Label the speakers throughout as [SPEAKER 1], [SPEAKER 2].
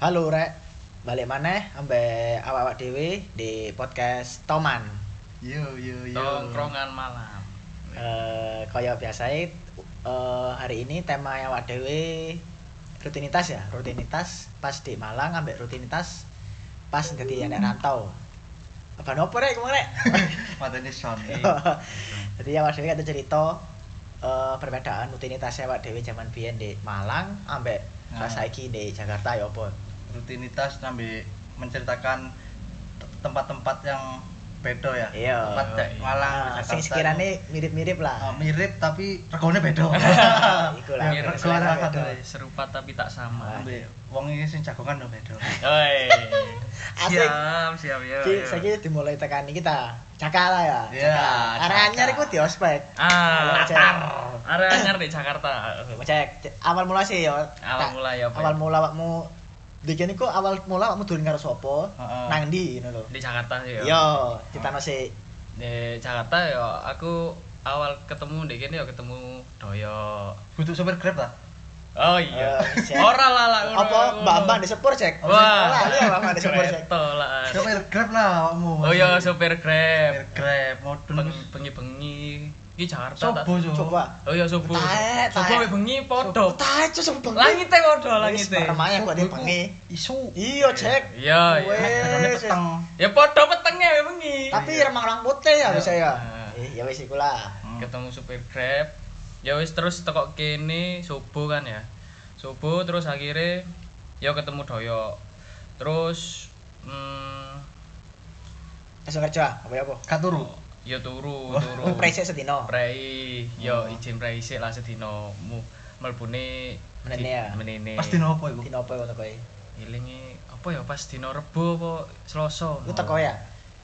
[SPEAKER 1] Halo rek, balik maneh ambe awak-awak dhewe di podcast Toman.
[SPEAKER 2] Yo yo yo.
[SPEAKER 3] tongkrongan malam
[SPEAKER 2] Iya.
[SPEAKER 1] Eh kaya biasae eh, hari ini tema awak dhewe rutinitas ya, rutinitas pas di Malang ambek rutinitas pas dadi anak rantau. Apa nopo rek kemana rek?
[SPEAKER 2] Matanya sound.
[SPEAKER 1] Jadi awak dhewe kata cerita eh perbedaan rutinitas awak dhewe zaman biyen di Malang ambek pas
[SPEAKER 2] Nah.
[SPEAKER 1] saiki di Jakarta ya apa?
[SPEAKER 2] Rutinitas nambe menceritakan t- tempat-tempat yang bedo ya.
[SPEAKER 1] Iya.
[SPEAKER 2] Tempat kayak Malang,
[SPEAKER 1] Nah,
[SPEAKER 2] Jakarta. ya.
[SPEAKER 1] sing sekirane mirip-mirip lah.
[SPEAKER 2] Ah, mirip tapi regone bedo.
[SPEAKER 1] Iku lah,
[SPEAKER 2] Ya,
[SPEAKER 3] mirip
[SPEAKER 2] regone
[SPEAKER 1] lah bedo.
[SPEAKER 2] satu wis.
[SPEAKER 3] serupa tapi tak sama
[SPEAKER 2] Ambe wong ini sing jagongan lho bedo.
[SPEAKER 3] Oi.
[SPEAKER 1] Asik.
[SPEAKER 3] siap siap ya
[SPEAKER 1] Ki, saiki dimulai tekan iki ta. Cakala ya.
[SPEAKER 2] Iya,
[SPEAKER 1] Cakala. Arah
[SPEAKER 2] Cakala.
[SPEAKER 1] anyar iku di ospek. Halo,
[SPEAKER 3] ah
[SPEAKER 1] Cek.
[SPEAKER 3] latar area anyar di Jakarta
[SPEAKER 1] Cek cek, awal mula sih ya.
[SPEAKER 3] Awal
[SPEAKER 1] Tak-
[SPEAKER 3] mula ya, Pak.
[SPEAKER 1] Awal mula awakmu Dikin iku awal mula awakmu durung karo sapa?
[SPEAKER 2] Heeh.
[SPEAKER 1] Nang ndi ngono lho.
[SPEAKER 3] di Jakarta sih ya
[SPEAKER 1] Yo, ditano sik.
[SPEAKER 3] di Jakarta ya aku awal ketemu di kene ya ketemu Doyo
[SPEAKER 2] Butuh sopir Grab ta?
[SPEAKER 3] oh iya
[SPEAKER 1] Eh, Cek.
[SPEAKER 3] ora lah lah ngono,
[SPEAKER 1] Apa
[SPEAKER 3] ngono.
[SPEAKER 1] mbak-mbak di sepur cek?
[SPEAKER 3] wah
[SPEAKER 1] Lah, iya mbak-mbak di sepur cek.
[SPEAKER 3] Kereta lah
[SPEAKER 2] Sopir Grab lah awakmu.
[SPEAKER 3] oh iya sopir
[SPEAKER 2] Sopir
[SPEAKER 3] grab
[SPEAKER 2] Grab modun
[SPEAKER 3] bengi-bengi iki Jakarta tak-
[SPEAKER 2] sobo so.
[SPEAKER 1] Coba.
[SPEAKER 3] oh iya subuh
[SPEAKER 1] Taek,
[SPEAKER 3] subuh
[SPEAKER 1] taek.
[SPEAKER 3] ambek bengi podo
[SPEAKER 1] Tak cocok bengi.
[SPEAKER 3] langite podo
[SPEAKER 1] Wis,
[SPEAKER 3] langite
[SPEAKER 1] Remaja kok dia bengi.
[SPEAKER 2] Isu.
[SPEAKER 1] Iya, cek.
[SPEAKER 3] iya iya.
[SPEAKER 2] Regone
[SPEAKER 1] Wes.
[SPEAKER 2] peteng.
[SPEAKER 3] ya podo petenge ambek bengi
[SPEAKER 1] Tapi
[SPEAKER 3] Iya.
[SPEAKER 1] remang orang putih ya bisa ya.
[SPEAKER 3] Nah.
[SPEAKER 1] Eh, ya wis iku lah.
[SPEAKER 2] Hmm.
[SPEAKER 3] ketemu supir grab ya wis terus tekok kene subuh kan ya subuh terus akhirnya ya ketemu doyo terus hmm,
[SPEAKER 1] Langsung kerja apa ya apa?
[SPEAKER 2] Gak turu.
[SPEAKER 3] ya turu
[SPEAKER 2] Oh,
[SPEAKER 3] turu
[SPEAKER 1] Oh, Presek sedino.
[SPEAKER 3] prei
[SPEAKER 2] Oh.
[SPEAKER 3] ya izin prei sik lah sedino mu melbune
[SPEAKER 1] Menene ya?
[SPEAKER 3] menene
[SPEAKER 2] Pas dino apa iku?
[SPEAKER 1] Dino apa ya, ngono kowe?
[SPEAKER 3] ilingi apa ya pas dino rebo apa selasa
[SPEAKER 1] Ku teko ya.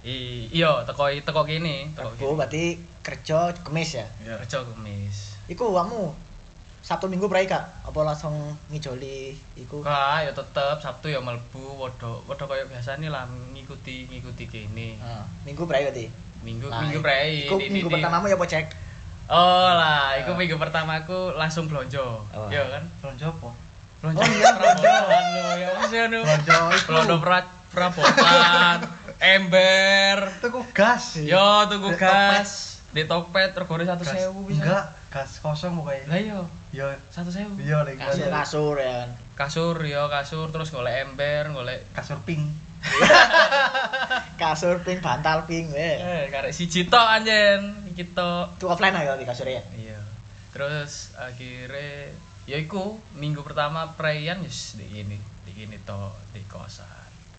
[SPEAKER 3] I- iya teko teko kene Oh. teko iya.
[SPEAKER 1] Rebo berarti kerja Kamis ya.
[SPEAKER 3] kene. kerja kemis
[SPEAKER 1] Iku uangmu Sabtu Minggu prai kak? Apa langsung ngijoli iku?
[SPEAKER 3] Kak, ya tetep Sabtu ya melbu, waduh, waduh kayak biasa nih lah ngikuti ngikuti kene.
[SPEAKER 1] Ah, minggu prai berarti.
[SPEAKER 3] Minggu
[SPEAKER 1] Nah,
[SPEAKER 3] minggu prei.
[SPEAKER 1] Iku
[SPEAKER 3] di- di-
[SPEAKER 1] minggu
[SPEAKER 3] di-
[SPEAKER 1] pertamamu ya apa cek?
[SPEAKER 3] Oh lah, iku minggu pertamaku langsung blonjo.
[SPEAKER 1] Oh.
[SPEAKER 3] Iya kan?
[SPEAKER 2] Blonjo apa?
[SPEAKER 3] Blonjo iya, prabotan lho, ya wis ya nu.
[SPEAKER 2] Blonjo iku.
[SPEAKER 3] Blonjo pra- prabotan, ember.
[SPEAKER 2] Tuku gas.
[SPEAKER 3] Yo
[SPEAKER 2] Di
[SPEAKER 3] tuku gas, di topet regane
[SPEAKER 2] Gas.
[SPEAKER 3] 100.000 bisa.
[SPEAKER 2] Enggak, gas kosong pokoknya. iya,
[SPEAKER 3] Lah iya,
[SPEAKER 2] Yo,
[SPEAKER 3] 100.000.
[SPEAKER 2] yo lek
[SPEAKER 1] Kasur kasur ya kan.
[SPEAKER 3] Kasur yo kasur terus golek ember, golek
[SPEAKER 2] kasur pink.
[SPEAKER 1] Kasur pink bantal pink ya.
[SPEAKER 3] eh karek siji tok anjen, iki tok.
[SPEAKER 1] Itu offline aja di kasur ya.
[SPEAKER 3] Iya. Terus akhirnya ya iku minggu pertama preian wis di gini, di gini to di kosan.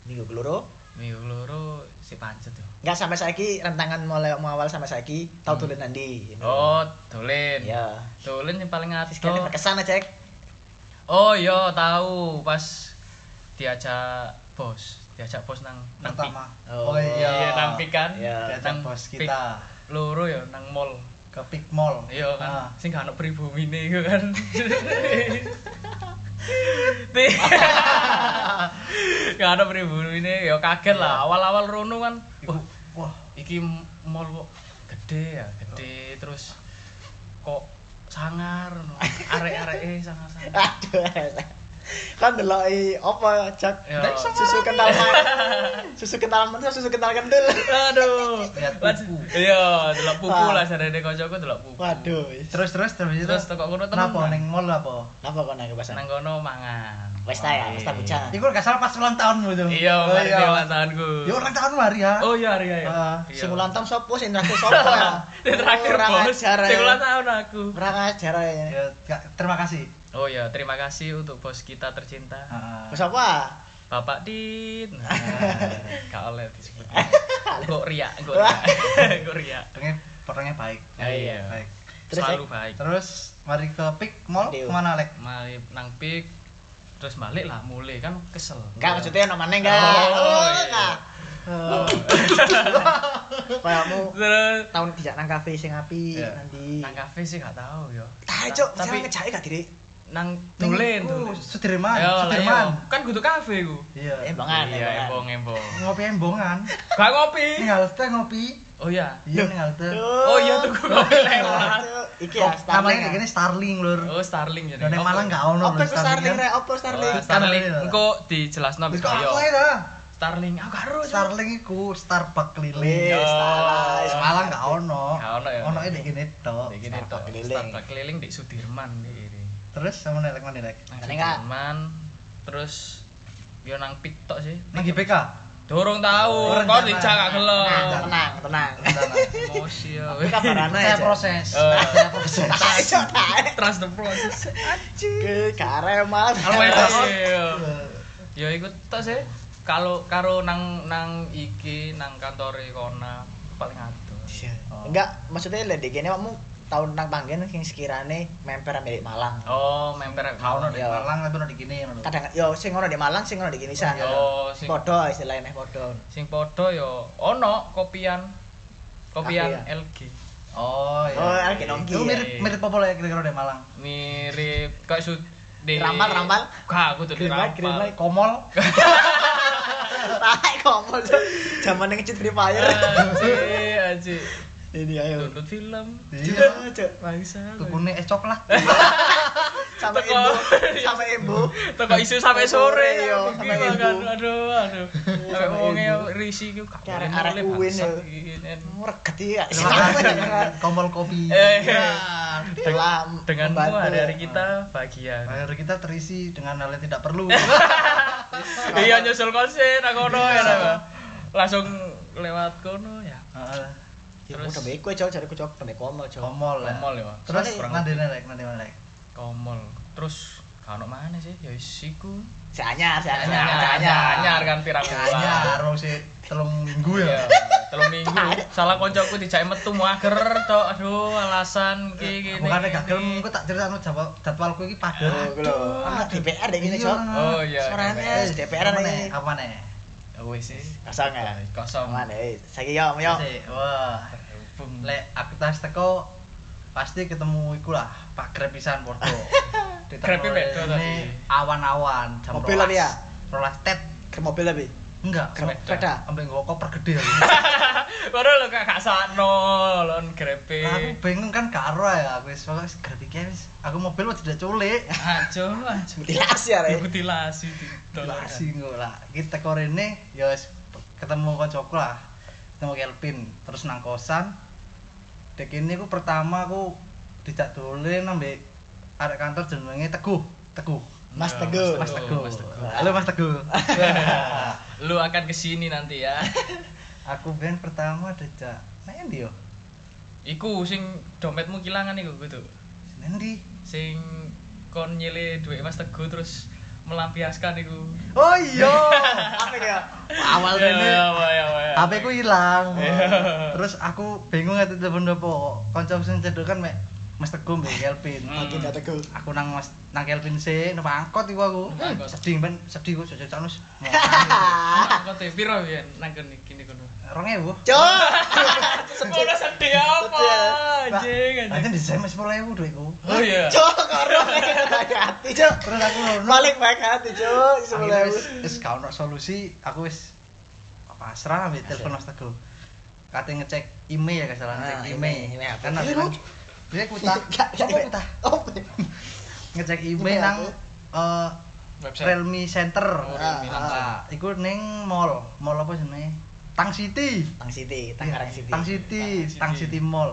[SPEAKER 1] Minggu keloro.
[SPEAKER 3] Minggu loro si pancet yo.
[SPEAKER 1] Enggak sampai saiki rentangan mulai mau awal sampai saiki tau tulen nanti.
[SPEAKER 3] Hmm. Oh, dolen.
[SPEAKER 1] Iya.
[SPEAKER 3] Dolen yang paling
[SPEAKER 1] Sekali
[SPEAKER 3] ado.
[SPEAKER 1] berkesan aja cek.
[SPEAKER 3] Oh iya, tahu pas diajak bos, diajak bos nang nang pik.
[SPEAKER 2] Pertama.
[SPEAKER 1] Oh,
[SPEAKER 3] Iya, nang pik kan.
[SPEAKER 1] Iya.
[SPEAKER 2] Diajak
[SPEAKER 3] Nang
[SPEAKER 2] bos
[SPEAKER 3] pik.
[SPEAKER 2] kita
[SPEAKER 3] Loro ya nang mall.
[SPEAKER 2] ke pik mall.
[SPEAKER 3] Iya kan,
[SPEAKER 2] Ah.
[SPEAKER 3] sing gak ono pribumine iku kan. Ti- Gak ono pribumine, ya kaget lah. Awal-awal rono kan,
[SPEAKER 2] Iku,
[SPEAKER 3] wah,
[SPEAKER 2] wah,
[SPEAKER 3] iki mall kok gede ya, gede
[SPEAKER 2] Oh.
[SPEAKER 3] terus kok sangar no. arek-areke sangar-sangar.
[SPEAKER 2] Ah.
[SPEAKER 1] Aduh. Kan deloki apa cek?
[SPEAKER 3] Ya.
[SPEAKER 1] Susu kental manis. Susu kental manis, susu kental kendel.
[SPEAKER 3] Aduh.
[SPEAKER 2] Lihat
[SPEAKER 3] Mas-
[SPEAKER 2] pupu. Ah.
[SPEAKER 3] Iya, delok pupu
[SPEAKER 1] Wah.
[SPEAKER 3] lah sarene kancaku delok pupu.
[SPEAKER 1] Waduh.
[SPEAKER 2] terus terus terus itu.
[SPEAKER 3] Terus teko kono temen. kan?
[SPEAKER 2] Napa neng mall apa?
[SPEAKER 1] Napa kok nang pasan?
[SPEAKER 3] Nang kono mangan.
[SPEAKER 1] Westa ya, westa bujangan.
[SPEAKER 2] Iku gak salah pas ulang tahunmu tuh.
[SPEAKER 3] Iya,
[SPEAKER 2] Oh,
[SPEAKER 3] mari
[SPEAKER 2] iya.
[SPEAKER 3] ulang tahunku.
[SPEAKER 2] Ya ulang tahunmu hari ya.
[SPEAKER 3] Oh iya, iya. iya.
[SPEAKER 2] Ah,
[SPEAKER 3] Iya.
[SPEAKER 1] Sing ulang tahun sapa sing terakhir sapa ya?
[SPEAKER 3] Yang terakhir
[SPEAKER 1] Kurang
[SPEAKER 3] bos,
[SPEAKER 1] ajar. ya.
[SPEAKER 3] yang ulang tahun Iya. aku.
[SPEAKER 1] Kurang ajar ya.
[SPEAKER 2] Ya, gak- terima kasih.
[SPEAKER 3] Oh ya, terima kasih untuk bos kita tercinta,
[SPEAKER 2] Ah,
[SPEAKER 1] Wes apa?
[SPEAKER 3] Bapak Dit. Nah, Gak oleh disebut. Kok riak, kok
[SPEAKER 1] Wah.
[SPEAKER 3] riak, kok riak.
[SPEAKER 2] orangnya orangnya baik.
[SPEAKER 3] Ah, iya.
[SPEAKER 2] Baik.
[SPEAKER 1] Terus,
[SPEAKER 3] Selalu
[SPEAKER 1] Ek?
[SPEAKER 3] baik.
[SPEAKER 2] Terus mari ke pik mall
[SPEAKER 1] Deo.
[SPEAKER 2] kemana Lek?
[SPEAKER 3] Mari nang pik, terus balik lah, mulai kan kesel.
[SPEAKER 1] Enggak maksudnya ono maneh enggak.
[SPEAKER 3] Oh,
[SPEAKER 1] Oh,
[SPEAKER 3] iya.
[SPEAKER 1] enggak.
[SPEAKER 3] Oh.
[SPEAKER 1] Kayamu
[SPEAKER 3] Terus
[SPEAKER 1] tahun dijak nang kafe sing api
[SPEAKER 2] Iya.
[SPEAKER 1] nanti.
[SPEAKER 3] nang kafe sih gak tahu ya.
[SPEAKER 1] Tajuk,
[SPEAKER 3] tapi
[SPEAKER 1] tapi ngejake gak diri.
[SPEAKER 3] nang tulen
[SPEAKER 2] Iku, Uh,
[SPEAKER 3] tulen.
[SPEAKER 2] Sudirman,
[SPEAKER 3] Yo, lah,
[SPEAKER 2] Sudirman.
[SPEAKER 3] yo. Kan kudu kafe ku.
[SPEAKER 2] Iya.
[SPEAKER 1] Embongan, embongan.
[SPEAKER 3] Iya, embong embong.
[SPEAKER 2] Ngopi embongan.
[SPEAKER 3] Gak ngopi.
[SPEAKER 2] Ning halte ngopi.
[SPEAKER 3] Oh iya.
[SPEAKER 2] Iya ning halte.
[SPEAKER 3] Oh iya tuh gua ngopi lewat.
[SPEAKER 1] Cuk, Iki ya
[SPEAKER 2] Kok
[SPEAKER 1] Starling.
[SPEAKER 2] Namanya
[SPEAKER 1] ya.
[SPEAKER 2] kayak gini Starling lur.
[SPEAKER 3] Oh Starling jadi.
[SPEAKER 2] Yo ning
[SPEAKER 3] Opo.
[SPEAKER 2] Malang gak ono
[SPEAKER 1] Apa
[SPEAKER 2] lho
[SPEAKER 1] itu Starling?
[SPEAKER 2] kan.
[SPEAKER 1] Rek? Apa Starling?
[SPEAKER 3] Oh, Starling.
[SPEAKER 2] Starling.
[SPEAKER 3] Engko dijelasno
[SPEAKER 2] Wis
[SPEAKER 3] wis
[SPEAKER 2] kok
[SPEAKER 3] kaya.
[SPEAKER 2] aku ae dah.
[SPEAKER 3] Starling aku gak ero. Cuk.
[SPEAKER 2] Starling iku Starbucks keliling.
[SPEAKER 1] Wih,
[SPEAKER 3] Yo.
[SPEAKER 1] salah.
[SPEAKER 2] Wis Malang gak ono.
[SPEAKER 3] Gak ono ya.
[SPEAKER 2] Ono e ning kene tok.
[SPEAKER 3] Iki nih
[SPEAKER 1] Starbucks
[SPEAKER 3] tok.
[SPEAKER 1] keliling.
[SPEAKER 3] Starbucks keliling di Sudirman iki.
[SPEAKER 2] Terus sama nelek mana nelek?
[SPEAKER 3] Nang
[SPEAKER 1] Kene gak?
[SPEAKER 3] Sudirman terus yo nang pik tok sih.
[SPEAKER 2] Nang GPK.
[SPEAKER 3] Dorong tahu,
[SPEAKER 2] Oh,
[SPEAKER 3] kok
[SPEAKER 2] rencana.
[SPEAKER 3] dijak gak gelem.
[SPEAKER 1] Tenang, tenang, tenang.
[SPEAKER 3] Emosi yo.
[SPEAKER 1] Ini kabaran aja.
[SPEAKER 2] Saya proses.
[SPEAKER 3] Eh.
[SPEAKER 2] Nah, Saya proses.
[SPEAKER 1] Ayo, tae.
[SPEAKER 3] Trust the process.
[SPEAKER 1] Ke karep malah.
[SPEAKER 3] Kalau
[SPEAKER 2] Eh,
[SPEAKER 3] emosi. Ya iku tok sih. Kalau karo nang nang iki nang kantore Kona paling adoh.
[SPEAKER 2] Oh.
[SPEAKER 1] Enggak, maksudnya lek di kene kamu tahun nang panggen sing sekirane memper milik Malang.
[SPEAKER 3] Oh, member
[SPEAKER 2] Gak ono di
[SPEAKER 1] Iya.
[SPEAKER 2] Malang tapi ono di kene ngono.
[SPEAKER 1] Kadang yo sing ono di Malang, sing ono di kene san.
[SPEAKER 3] Yo sing
[SPEAKER 1] Padha istilahnya padha.
[SPEAKER 3] sing padha ya ono kopian. Kopian
[SPEAKER 1] Kopian.
[SPEAKER 3] LG.
[SPEAKER 2] Oh iya.
[SPEAKER 1] Oh, LG Nongki,
[SPEAKER 2] Itu
[SPEAKER 1] iya.
[SPEAKER 2] mirip mirip apa lah ya kira-kira di Malang?
[SPEAKER 3] Mirip kayak sud di
[SPEAKER 1] Ramal, ramal.
[SPEAKER 3] Gak, aku tuh di
[SPEAKER 1] Green light, green
[SPEAKER 3] ramal.
[SPEAKER 1] light.
[SPEAKER 2] Komol.
[SPEAKER 1] Tai ngomong Cuk. Zaman yang Free Fire.
[SPEAKER 3] Aji, aji.
[SPEAKER 1] Ini ayo.
[SPEAKER 3] Download film.
[SPEAKER 2] Iya.
[SPEAKER 1] Cuk.
[SPEAKER 3] Bangsa.
[SPEAKER 2] Tukune es coklat.
[SPEAKER 1] Sampai
[SPEAKER 3] Teko.
[SPEAKER 1] embo, sampai embo.
[SPEAKER 3] Teko isu sampai sore
[SPEAKER 1] Iya,
[SPEAKER 3] ya,
[SPEAKER 1] sampai
[SPEAKER 3] sampai
[SPEAKER 1] ibu.
[SPEAKER 3] Aduh, aduh. Sampai
[SPEAKER 1] sampai
[SPEAKER 3] wonge
[SPEAKER 1] ibu.
[SPEAKER 3] risi ku
[SPEAKER 1] Kayak
[SPEAKER 3] gak boleh
[SPEAKER 1] arek-arek
[SPEAKER 3] mulai,
[SPEAKER 1] uwin,
[SPEAKER 3] bangsat,
[SPEAKER 1] ya.
[SPEAKER 3] gini.
[SPEAKER 1] Reget ya.
[SPEAKER 2] Terima kasih. Komol kopi.
[SPEAKER 3] Eh.
[SPEAKER 2] Ya.
[SPEAKER 1] Telah Iya.
[SPEAKER 3] Denganmu
[SPEAKER 1] membantu. Ah.
[SPEAKER 3] hari-hari kita bahagia.
[SPEAKER 2] Akhir kita terisi dengan hal yang tidak perlu.
[SPEAKER 3] Iya nyusul konser aku ono ya. Ra. Langsung lewat kono ya.
[SPEAKER 2] Heeh.
[SPEAKER 1] Ya,
[SPEAKER 3] Terus-
[SPEAKER 1] udah baik gue cok, cari gue cok, pendek komol cok.
[SPEAKER 2] Komol ya.
[SPEAKER 3] Komol ya.
[SPEAKER 2] Terus
[SPEAKER 1] Soalnya-
[SPEAKER 2] nanti nelek, nanti nelek.
[SPEAKER 3] Komol. Terus kan mana sih? Ya isiku.
[SPEAKER 1] Si anyar, si anyar, si
[SPEAKER 3] Anyar,
[SPEAKER 1] anyar.
[SPEAKER 3] anyar kan piramida.
[SPEAKER 2] Kayaknya harus sih telung minggu
[SPEAKER 3] Iya,
[SPEAKER 2] ya.
[SPEAKER 3] telung minggu. Salah koncoku dijak metu mager tok. Aduh, alasan ki
[SPEAKER 2] Eh,
[SPEAKER 3] gini.
[SPEAKER 2] Bukannya gak
[SPEAKER 3] gini.
[SPEAKER 2] gelem, aku tak cerita no jadwal jadwalku ini padat.
[SPEAKER 1] Oh, gue loh. Sama DPR deh gini
[SPEAKER 2] Iya. Eh,
[SPEAKER 1] cok.
[SPEAKER 3] Oh iya.
[SPEAKER 1] Suaranya
[SPEAKER 3] DPR.
[SPEAKER 1] Yes, DPR
[SPEAKER 2] Apa
[SPEAKER 1] nih.
[SPEAKER 2] nih? Apa nih?
[SPEAKER 3] Ya Wis sih.
[SPEAKER 1] Kosong ya.
[SPEAKER 3] Kosong.
[SPEAKER 1] Aman eh. Saiki yo, yo.
[SPEAKER 3] Iya,
[SPEAKER 2] Sik, Wah.
[SPEAKER 3] Terhubung.
[SPEAKER 2] Lek aku tas teko pasti ketemu iku lah, Pak Grab pisan podo.
[SPEAKER 3] Grabnya beda tadi.
[SPEAKER 2] ini awan-awan jam
[SPEAKER 1] Mobil tapi ya?
[SPEAKER 2] Rolas tet.
[SPEAKER 1] Ke mobil tapi.
[SPEAKER 2] Enggak,
[SPEAKER 1] Ke
[SPEAKER 3] Sepeda.
[SPEAKER 1] sepeda.
[SPEAKER 2] sampai nggo koper gede.
[SPEAKER 3] Baru lo kakak sakno, lon grepe.
[SPEAKER 2] aku bingung kan karo ya aku wis wis Grab iki wis aku mobil wis tidak culik.
[SPEAKER 3] Ajo, ajo.
[SPEAKER 1] Mutilasi ya rek.
[SPEAKER 3] Mutilasi di
[SPEAKER 2] Dilasi ngono lah. Kita teko rene ya wis ketemu kancaku lah. Ketemu Kelvin terus nang kosan. Dek ini aku pertama aku dijak dolen ambek arek kantor jenenge Teguh. Teguh.
[SPEAKER 1] Mas
[SPEAKER 3] Ya,
[SPEAKER 1] Teguh.
[SPEAKER 2] Mas Teguh.
[SPEAKER 3] Mas Teguh.
[SPEAKER 2] Halo Mas Teguh.
[SPEAKER 3] Lu akan kesini nanti ya.
[SPEAKER 2] aku ben pertama dijak Nendi yo.
[SPEAKER 3] Iku sing dompetmu kilangan iku gitu.
[SPEAKER 2] Nendi.
[SPEAKER 3] Sing kon nyile duit Mas Teguh terus melampiaskan iku.
[SPEAKER 2] Oh iya.
[SPEAKER 1] Apa ya?
[SPEAKER 2] Awal rene
[SPEAKER 3] Ya, wah, ya, wah, ya.
[SPEAKER 2] HP ku hilang. Terus aku bingung nggak telepon dopo. Kanca sing cedok kan mek Mas Teguh mbek Kelvin.
[SPEAKER 3] Hmm.
[SPEAKER 1] Makin gak teguh.
[SPEAKER 2] Aku nang Mas nang Kelvin sih, nang angkot iku aku.
[SPEAKER 3] Nang angkot.
[SPEAKER 2] Sedih ben, sedih ku jajal canus.
[SPEAKER 3] Kok te piro ya nang kene kene kono.
[SPEAKER 2] 2000.
[SPEAKER 1] Cok.
[SPEAKER 3] Sepuluh sedih apa? Anjing,
[SPEAKER 2] Nanti
[SPEAKER 3] anjing.
[SPEAKER 2] di saya 10000 duitku.
[SPEAKER 3] Oh iya.
[SPEAKER 1] Cok, karo baik hati cok.
[SPEAKER 2] Terus aku ngono.
[SPEAKER 1] Balik baik hati cok.
[SPEAKER 2] Akhirnya
[SPEAKER 1] Sebelum
[SPEAKER 2] wis wis gak ono solusi, aku wis pasrah ambil telepon Mas Teguh. Kate ngecek email ya gak salah,
[SPEAKER 1] Ah,
[SPEAKER 2] ngecek
[SPEAKER 1] email,
[SPEAKER 2] email.
[SPEAKER 1] email apa?
[SPEAKER 2] Kan aku
[SPEAKER 1] Email.
[SPEAKER 2] kan. Dia kutah.
[SPEAKER 1] Gak, gak,
[SPEAKER 2] Apa
[SPEAKER 1] gak.
[SPEAKER 2] kutah?
[SPEAKER 1] Oh,
[SPEAKER 2] Ngecek
[SPEAKER 1] Email
[SPEAKER 2] email nang
[SPEAKER 1] apa?
[SPEAKER 2] eh
[SPEAKER 3] Website.
[SPEAKER 2] Realme Center.
[SPEAKER 3] Oh,
[SPEAKER 1] Ah,
[SPEAKER 3] Realme Center.
[SPEAKER 2] Nah, iku ning mall. Mall apa jenenge? Tang City.
[SPEAKER 1] Tang City, Tangerang City.
[SPEAKER 2] Tang City,
[SPEAKER 3] Tang
[SPEAKER 2] Tang City
[SPEAKER 3] City.
[SPEAKER 2] Mall.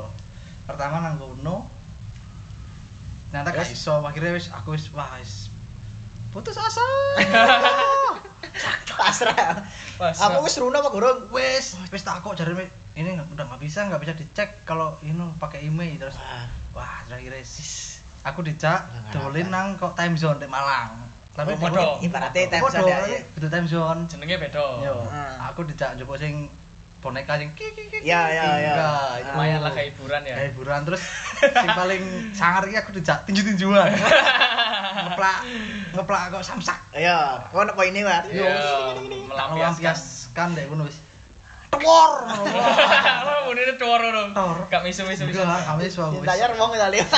[SPEAKER 2] Pertama nang kono. Ternyata gak
[SPEAKER 1] Terus?
[SPEAKER 2] iso, akhirnya wis aku wis wah wis putus asa.
[SPEAKER 1] Pasrah.
[SPEAKER 3] Pasrah.
[SPEAKER 1] Aku wis runo apa gurung?
[SPEAKER 2] wis, wis tak kok jare mi- ini nggak- udah nggak bisa, nggak bisa dicek kalau ini pakai email terus.
[SPEAKER 1] Wah,
[SPEAKER 2] Wah, terakhir aku dijak
[SPEAKER 1] Nggak
[SPEAKER 2] dolin
[SPEAKER 1] ngarep.
[SPEAKER 2] nang kok time zone di Malang.
[SPEAKER 3] Oh, podo.
[SPEAKER 1] ibaratnya time
[SPEAKER 2] time
[SPEAKER 1] zone ya.
[SPEAKER 2] Betul time zone.
[SPEAKER 3] Jenenge beda.
[SPEAKER 2] Yo,
[SPEAKER 1] Heeh.
[SPEAKER 2] aku dijak njupuk sing boneka sing ki ki ki.
[SPEAKER 1] Ya, ya, ya.
[SPEAKER 3] Lumayan lah kayak hiburan ya.
[SPEAKER 2] Ah. Kayak gitu hiburan terus sing paling sangar iki aku dijak tinju-tinjuan. ngeplak ngeplak kok samsak.
[SPEAKER 1] Ayo, kau iya, nak poinnya war?
[SPEAKER 3] Yo,
[SPEAKER 2] Tak
[SPEAKER 3] Iya, melampiaskan.
[SPEAKER 2] melampiaskan deh ngono wis. Telur.
[SPEAKER 3] Lah, mune tuwar ora.
[SPEAKER 2] Tor.
[SPEAKER 3] Gak misu-misu.
[SPEAKER 2] Enggak, kami suami wis.
[SPEAKER 3] Iya.
[SPEAKER 1] Ditayar wong kita lihat.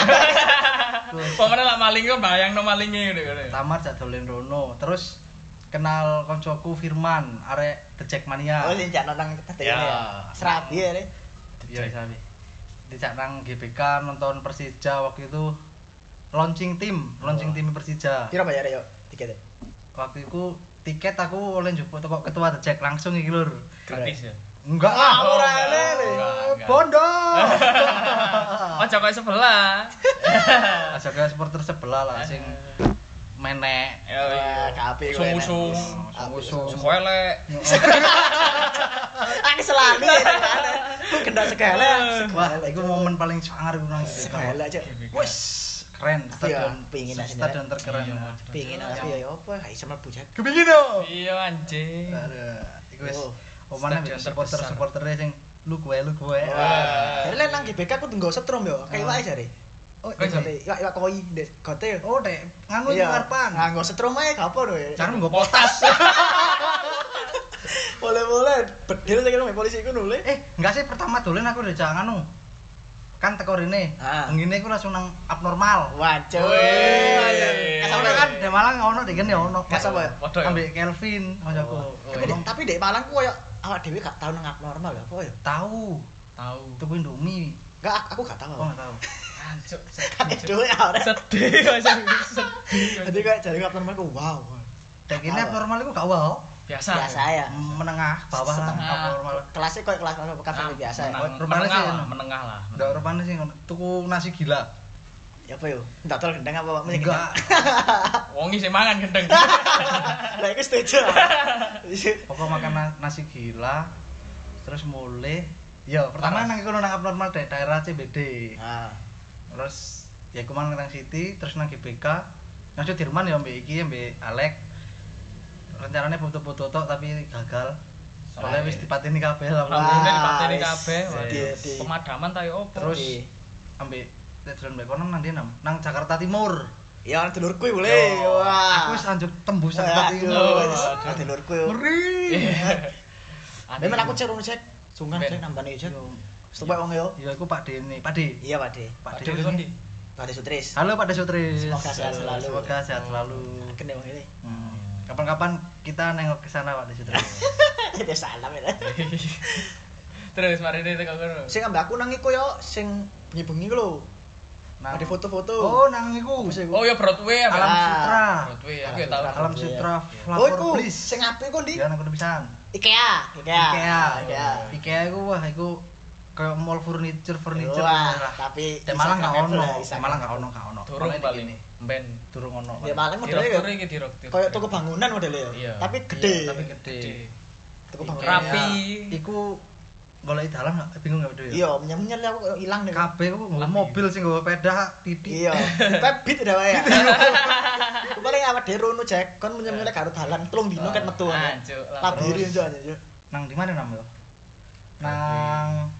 [SPEAKER 2] aku
[SPEAKER 3] Pokoknya lah maling kok bayang no malingnya gitu kan.
[SPEAKER 2] pertama jak dolen rono terus kenal koncoku Firman arek The Jackmania
[SPEAKER 1] Oh, sing jak nonang tadi
[SPEAKER 3] Ya.
[SPEAKER 1] ya. Serat ya, Re.
[SPEAKER 2] iya bisa Bi. dijak nang GBK nonton Persija waktu itu launching tim
[SPEAKER 1] Oh.
[SPEAKER 2] launching tim Persija
[SPEAKER 1] Piro bayare yo tiket
[SPEAKER 2] waktu itu tiket aku oleh njupuk teko ketua The Jack langsung iki lur
[SPEAKER 3] Gratis ya.
[SPEAKER 2] enggak
[SPEAKER 1] Ah,
[SPEAKER 2] lah
[SPEAKER 3] Oh,
[SPEAKER 2] ora
[SPEAKER 3] enggak,
[SPEAKER 2] ele Le.
[SPEAKER 3] enggak, enggak.
[SPEAKER 2] bondo
[SPEAKER 3] Oh, coba sebelah.
[SPEAKER 2] aja kayak supporter sebelah lah sing menek
[SPEAKER 3] Ya
[SPEAKER 1] Wah, gak apik kowe, Nek.
[SPEAKER 3] Sungusung,
[SPEAKER 1] Apik,
[SPEAKER 3] sungusung.
[SPEAKER 1] sungusung.
[SPEAKER 3] Koelek.
[SPEAKER 1] Aku selalu ya. Ku gendak segala.
[SPEAKER 2] wah itu momen paling sangar gue nangis
[SPEAKER 1] segala aja.
[SPEAKER 2] wes keren stadion
[SPEAKER 1] Iya, pingin aja,
[SPEAKER 2] stadion
[SPEAKER 1] Nek.
[SPEAKER 2] terkeren
[SPEAKER 3] Iya,
[SPEAKER 2] nah.
[SPEAKER 3] Mas.
[SPEAKER 1] Pingin aku ya yo apa? Hai sama bujak.
[SPEAKER 2] kepingin dong
[SPEAKER 3] Iya anjing.
[SPEAKER 2] Aduh, iku wis
[SPEAKER 1] Oh.
[SPEAKER 2] omane
[SPEAKER 3] Stadion
[SPEAKER 2] supporter
[SPEAKER 3] terbesar.
[SPEAKER 2] supportere sing lu gue lu gue.
[SPEAKER 3] Wah.
[SPEAKER 1] Jadi lain nang GBK aku tunggu setrum yo, kayak wae jare.
[SPEAKER 2] Oh,
[SPEAKER 3] Kok iso?
[SPEAKER 2] iya.
[SPEAKER 1] Iwak iwak koi ndek gote yo.
[SPEAKER 2] Oh, Dek, nganu iki ngarepan.
[SPEAKER 1] Nah, nggo setrum ae gak apa lho. ya.
[SPEAKER 2] Jangan nggo potas.
[SPEAKER 1] Boleh-boleh bedil saya kira polisi iku nule.
[SPEAKER 2] Eh, enggak sih pertama dolen aku udah jangan nganu. Kan teko rene.
[SPEAKER 1] Ah.
[SPEAKER 2] Ngene iku langsung nang abnormal.
[SPEAKER 1] Waduh. Eh,
[SPEAKER 3] Weh.
[SPEAKER 1] Kasar
[SPEAKER 2] Soalnya kan Eh, di Malang nggak ono deh kan ya ono.
[SPEAKER 1] Gak sama ya?
[SPEAKER 3] Waduh, ya.
[SPEAKER 2] Ambek Kelvin kancaku.
[SPEAKER 1] Oh.
[SPEAKER 2] Aku
[SPEAKER 1] Tapi dek-
[SPEAKER 2] belum
[SPEAKER 1] Tapi dek Malang ku koyo awak dhewe gak tau nang abnormal ya apa ya?
[SPEAKER 2] tahu.
[SPEAKER 3] Tahu.
[SPEAKER 2] Tuku Indomie.
[SPEAKER 1] Enggak, aku gak tau.
[SPEAKER 2] Oh, enggak tahu.
[SPEAKER 3] Anjuk.
[SPEAKER 1] Kakek dhewe ora.
[SPEAKER 3] Sedih kok
[SPEAKER 1] Jadi
[SPEAKER 3] sedih.
[SPEAKER 1] kayak jadi abnormal ku wow.
[SPEAKER 2] Dek ini
[SPEAKER 1] Apa?
[SPEAKER 2] abnormal iku gak wow.
[SPEAKER 3] Biasa.
[SPEAKER 1] Biasa ya.
[SPEAKER 2] Menengah bawah lah
[SPEAKER 1] Setengah.
[SPEAKER 2] abnormal.
[SPEAKER 1] Kelasnya koyo kelas kelas kafe
[SPEAKER 3] Ah,
[SPEAKER 1] biasa ya.
[SPEAKER 3] menang-
[SPEAKER 2] Rumahnya
[SPEAKER 3] Menengah
[SPEAKER 2] sih,
[SPEAKER 3] lah,
[SPEAKER 2] Nek.
[SPEAKER 3] menengah lah.
[SPEAKER 2] Ndak rupane sih ngono. tuku nasi gila.
[SPEAKER 1] Ya apa yo? Enggak tol gendang apa mesti
[SPEAKER 2] Enggak.
[SPEAKER 3] Wongi sih mangan gendeng.
[SPEAKER 1] Lah iku setuju.
[SPEAKER 2] Pokok makan na- nasi gila terus mulai ya pertama
[SPEAKER 3] Panas.
[SPEAKER 2] nang iku nang abnormal da- daerah CBD.
[SPEAKER 1] Nah,
[SPEAKER 2] Terus ya iku mang nang City terus nang GBK. Nang Sudirman ya mbek iki mbek Alek. Rencananya foto-foto tok tapi gagal. Soalnya
[SPEAKER 3] Soalnya-
[SPEAKER 2] wis dipateni kabeh lah.
[SPEAKER 1] Wah.
[SPEAKER 3] Rambutnya dipateni
[SPEAKER 1] wis.
[SPEAKER 3] kabeh.
[SPEAKER 1] Sedih, sedih.
[SPEAKER 3] Pemadaman ta yo opo?
[SPEAKER 2] Terus
[SPEAKER 1] Oke.
[SPEAKER 2] ambek Tetron mbek kono nang ndi nang? Nang Jakarta Timur.
[SPEAKER 1] ya ana dulurku boleh. Wah.
[SPEAKER 2] Aku wis lanjut tembus Jakarta
[SPEAKER 1] Aduh,
[SPEAKER 2] Timur.
[SPEAKER 1] wis ana dulurku.
[SPEAKER 2] Ngeri.
[SPEAKER 3] Iya. Aneh.
[SPEAKER 1] Memang aku cerun cek, sungkan
[SPEAKER 3] Ben.
[SPEAKER 1] cek nambani cek.
[SPEAKER 2] Yo,
[SPEAKER 1] Setuju wong yo.
[SPEAKER 2] Ya aku Pak Dene, Pak De.
[SPEAKER 1] Iya, Pak De.
[SPEAKER 2] Pak
[SPEAKER 3] Aduh,
[SPEAKER 2] De.
[SPEAKER 3] kon di.
[SPEAKER 1] Pak De Sutris.
[SPEAKER 2] Halo Pak Desutris.
[SPEAKER 1] Semoga sehat selalu.
[SPEAKER 2] Semoga sehat selalu.
[SPEAKER 1] Kene wong ini.
[SPEAKER 2] Hmm. Kapan-kapan kita nengok ke sana Pak Desutris.
[SPEAKER 1] Ada salam ya.
[SPEAKER 3] Terus mari deh teko kono.
[SPEAKER 1] Sing ambek aku nang iku yo sing bengi-bengi ku lho. Ada foto-foto.
[SPEAKER 2] Oh, nang iku.
[SPEAKER 1] Apa sih?
[SPEAKER 3] Oh ya Broadway ya.
[SPEAKER 2] Alam
[SPEAKER 1] Ah.
[SPEAKER 2] Sutra.
[SPEAKER 3] Broadway aku ya tahu.
[SPEAKER 1] Alam
[SPEAKER 2] Alam Sutra
[SPEAKER 1] Oh,
[SPEAKER 2] Flavor
[SPEAKER 1] iku
[SPEAKER 2] Bliss.
[SPEAKER 1] sing apik ku ndi?
[SPEAKER 2] Ya nang kono pisan.
[SPEAKER 1] IKEA. IKEA.
[SPEAKER 2] IKEA.
[SPEAKER 1] IKEA.
[SPEAKER 2] IKEA iku wah iku kayak mall furniture furniture.
[SPEAKER 1] Wah,
[SPEAKER 2] daerah.
[SPEAKER 1] tapi
[SPEAKER 2] Di Malang gak
[SPEAKER 1] Instagramable
[SPEAKER 2] ono.
[SPEAKER 1] lah,
[SPEAKER 2] Di
[SPEAKER 1] Instagram.
[SPEAKER 2] Malang gak ono, gak ono.
[SPEAKER 3] Turun
[SPEAKER 2] Malang di
[SPEAKER 3] paling
[SPEAKER 2] kene.
[SPEAKER 3] ben.
[SPEAKER 2] Durung ono.
[SPEAKER 1] Ya Malang modelnya
[SPEAKER 3] Direktur
[SPEAKER 1] ya.
[SPEAKER 3] iki direktur.
[SPEAKER 1] Kayak toko bangunan modelnya ya.
[SPEAKER 3] Iya.
[SPEAKER 1] Tapi gede.
[SPEAKER 2] Tapi gede.
[SPEAKER 1] Toko bangunan.
[SPEAKER 3] Rapi.
[SPEAKER 2] Iku golek dalan gak Eh, bingung gak Dok, ya?
[SPEAKER 1] Iya, menyenyel aku kayak ilang nih.
[SPEAKER 2] kabeh ku nggawa mobil sing nggawa peda titik
[SPEAKER 1] Iya, kita beat udah wae. Aku paling awak dhewe rono Jack, kon menyenyel karo dalan telung dino kan metu.
[SPEAKER 3] Ah, Cuk, lah,
[SPEAKER 1] Tabiri
[SPEAKER 2] terus.
[SPEAKER 1] aja aja.
[SPEAKER 2] nang di mana nam yo nang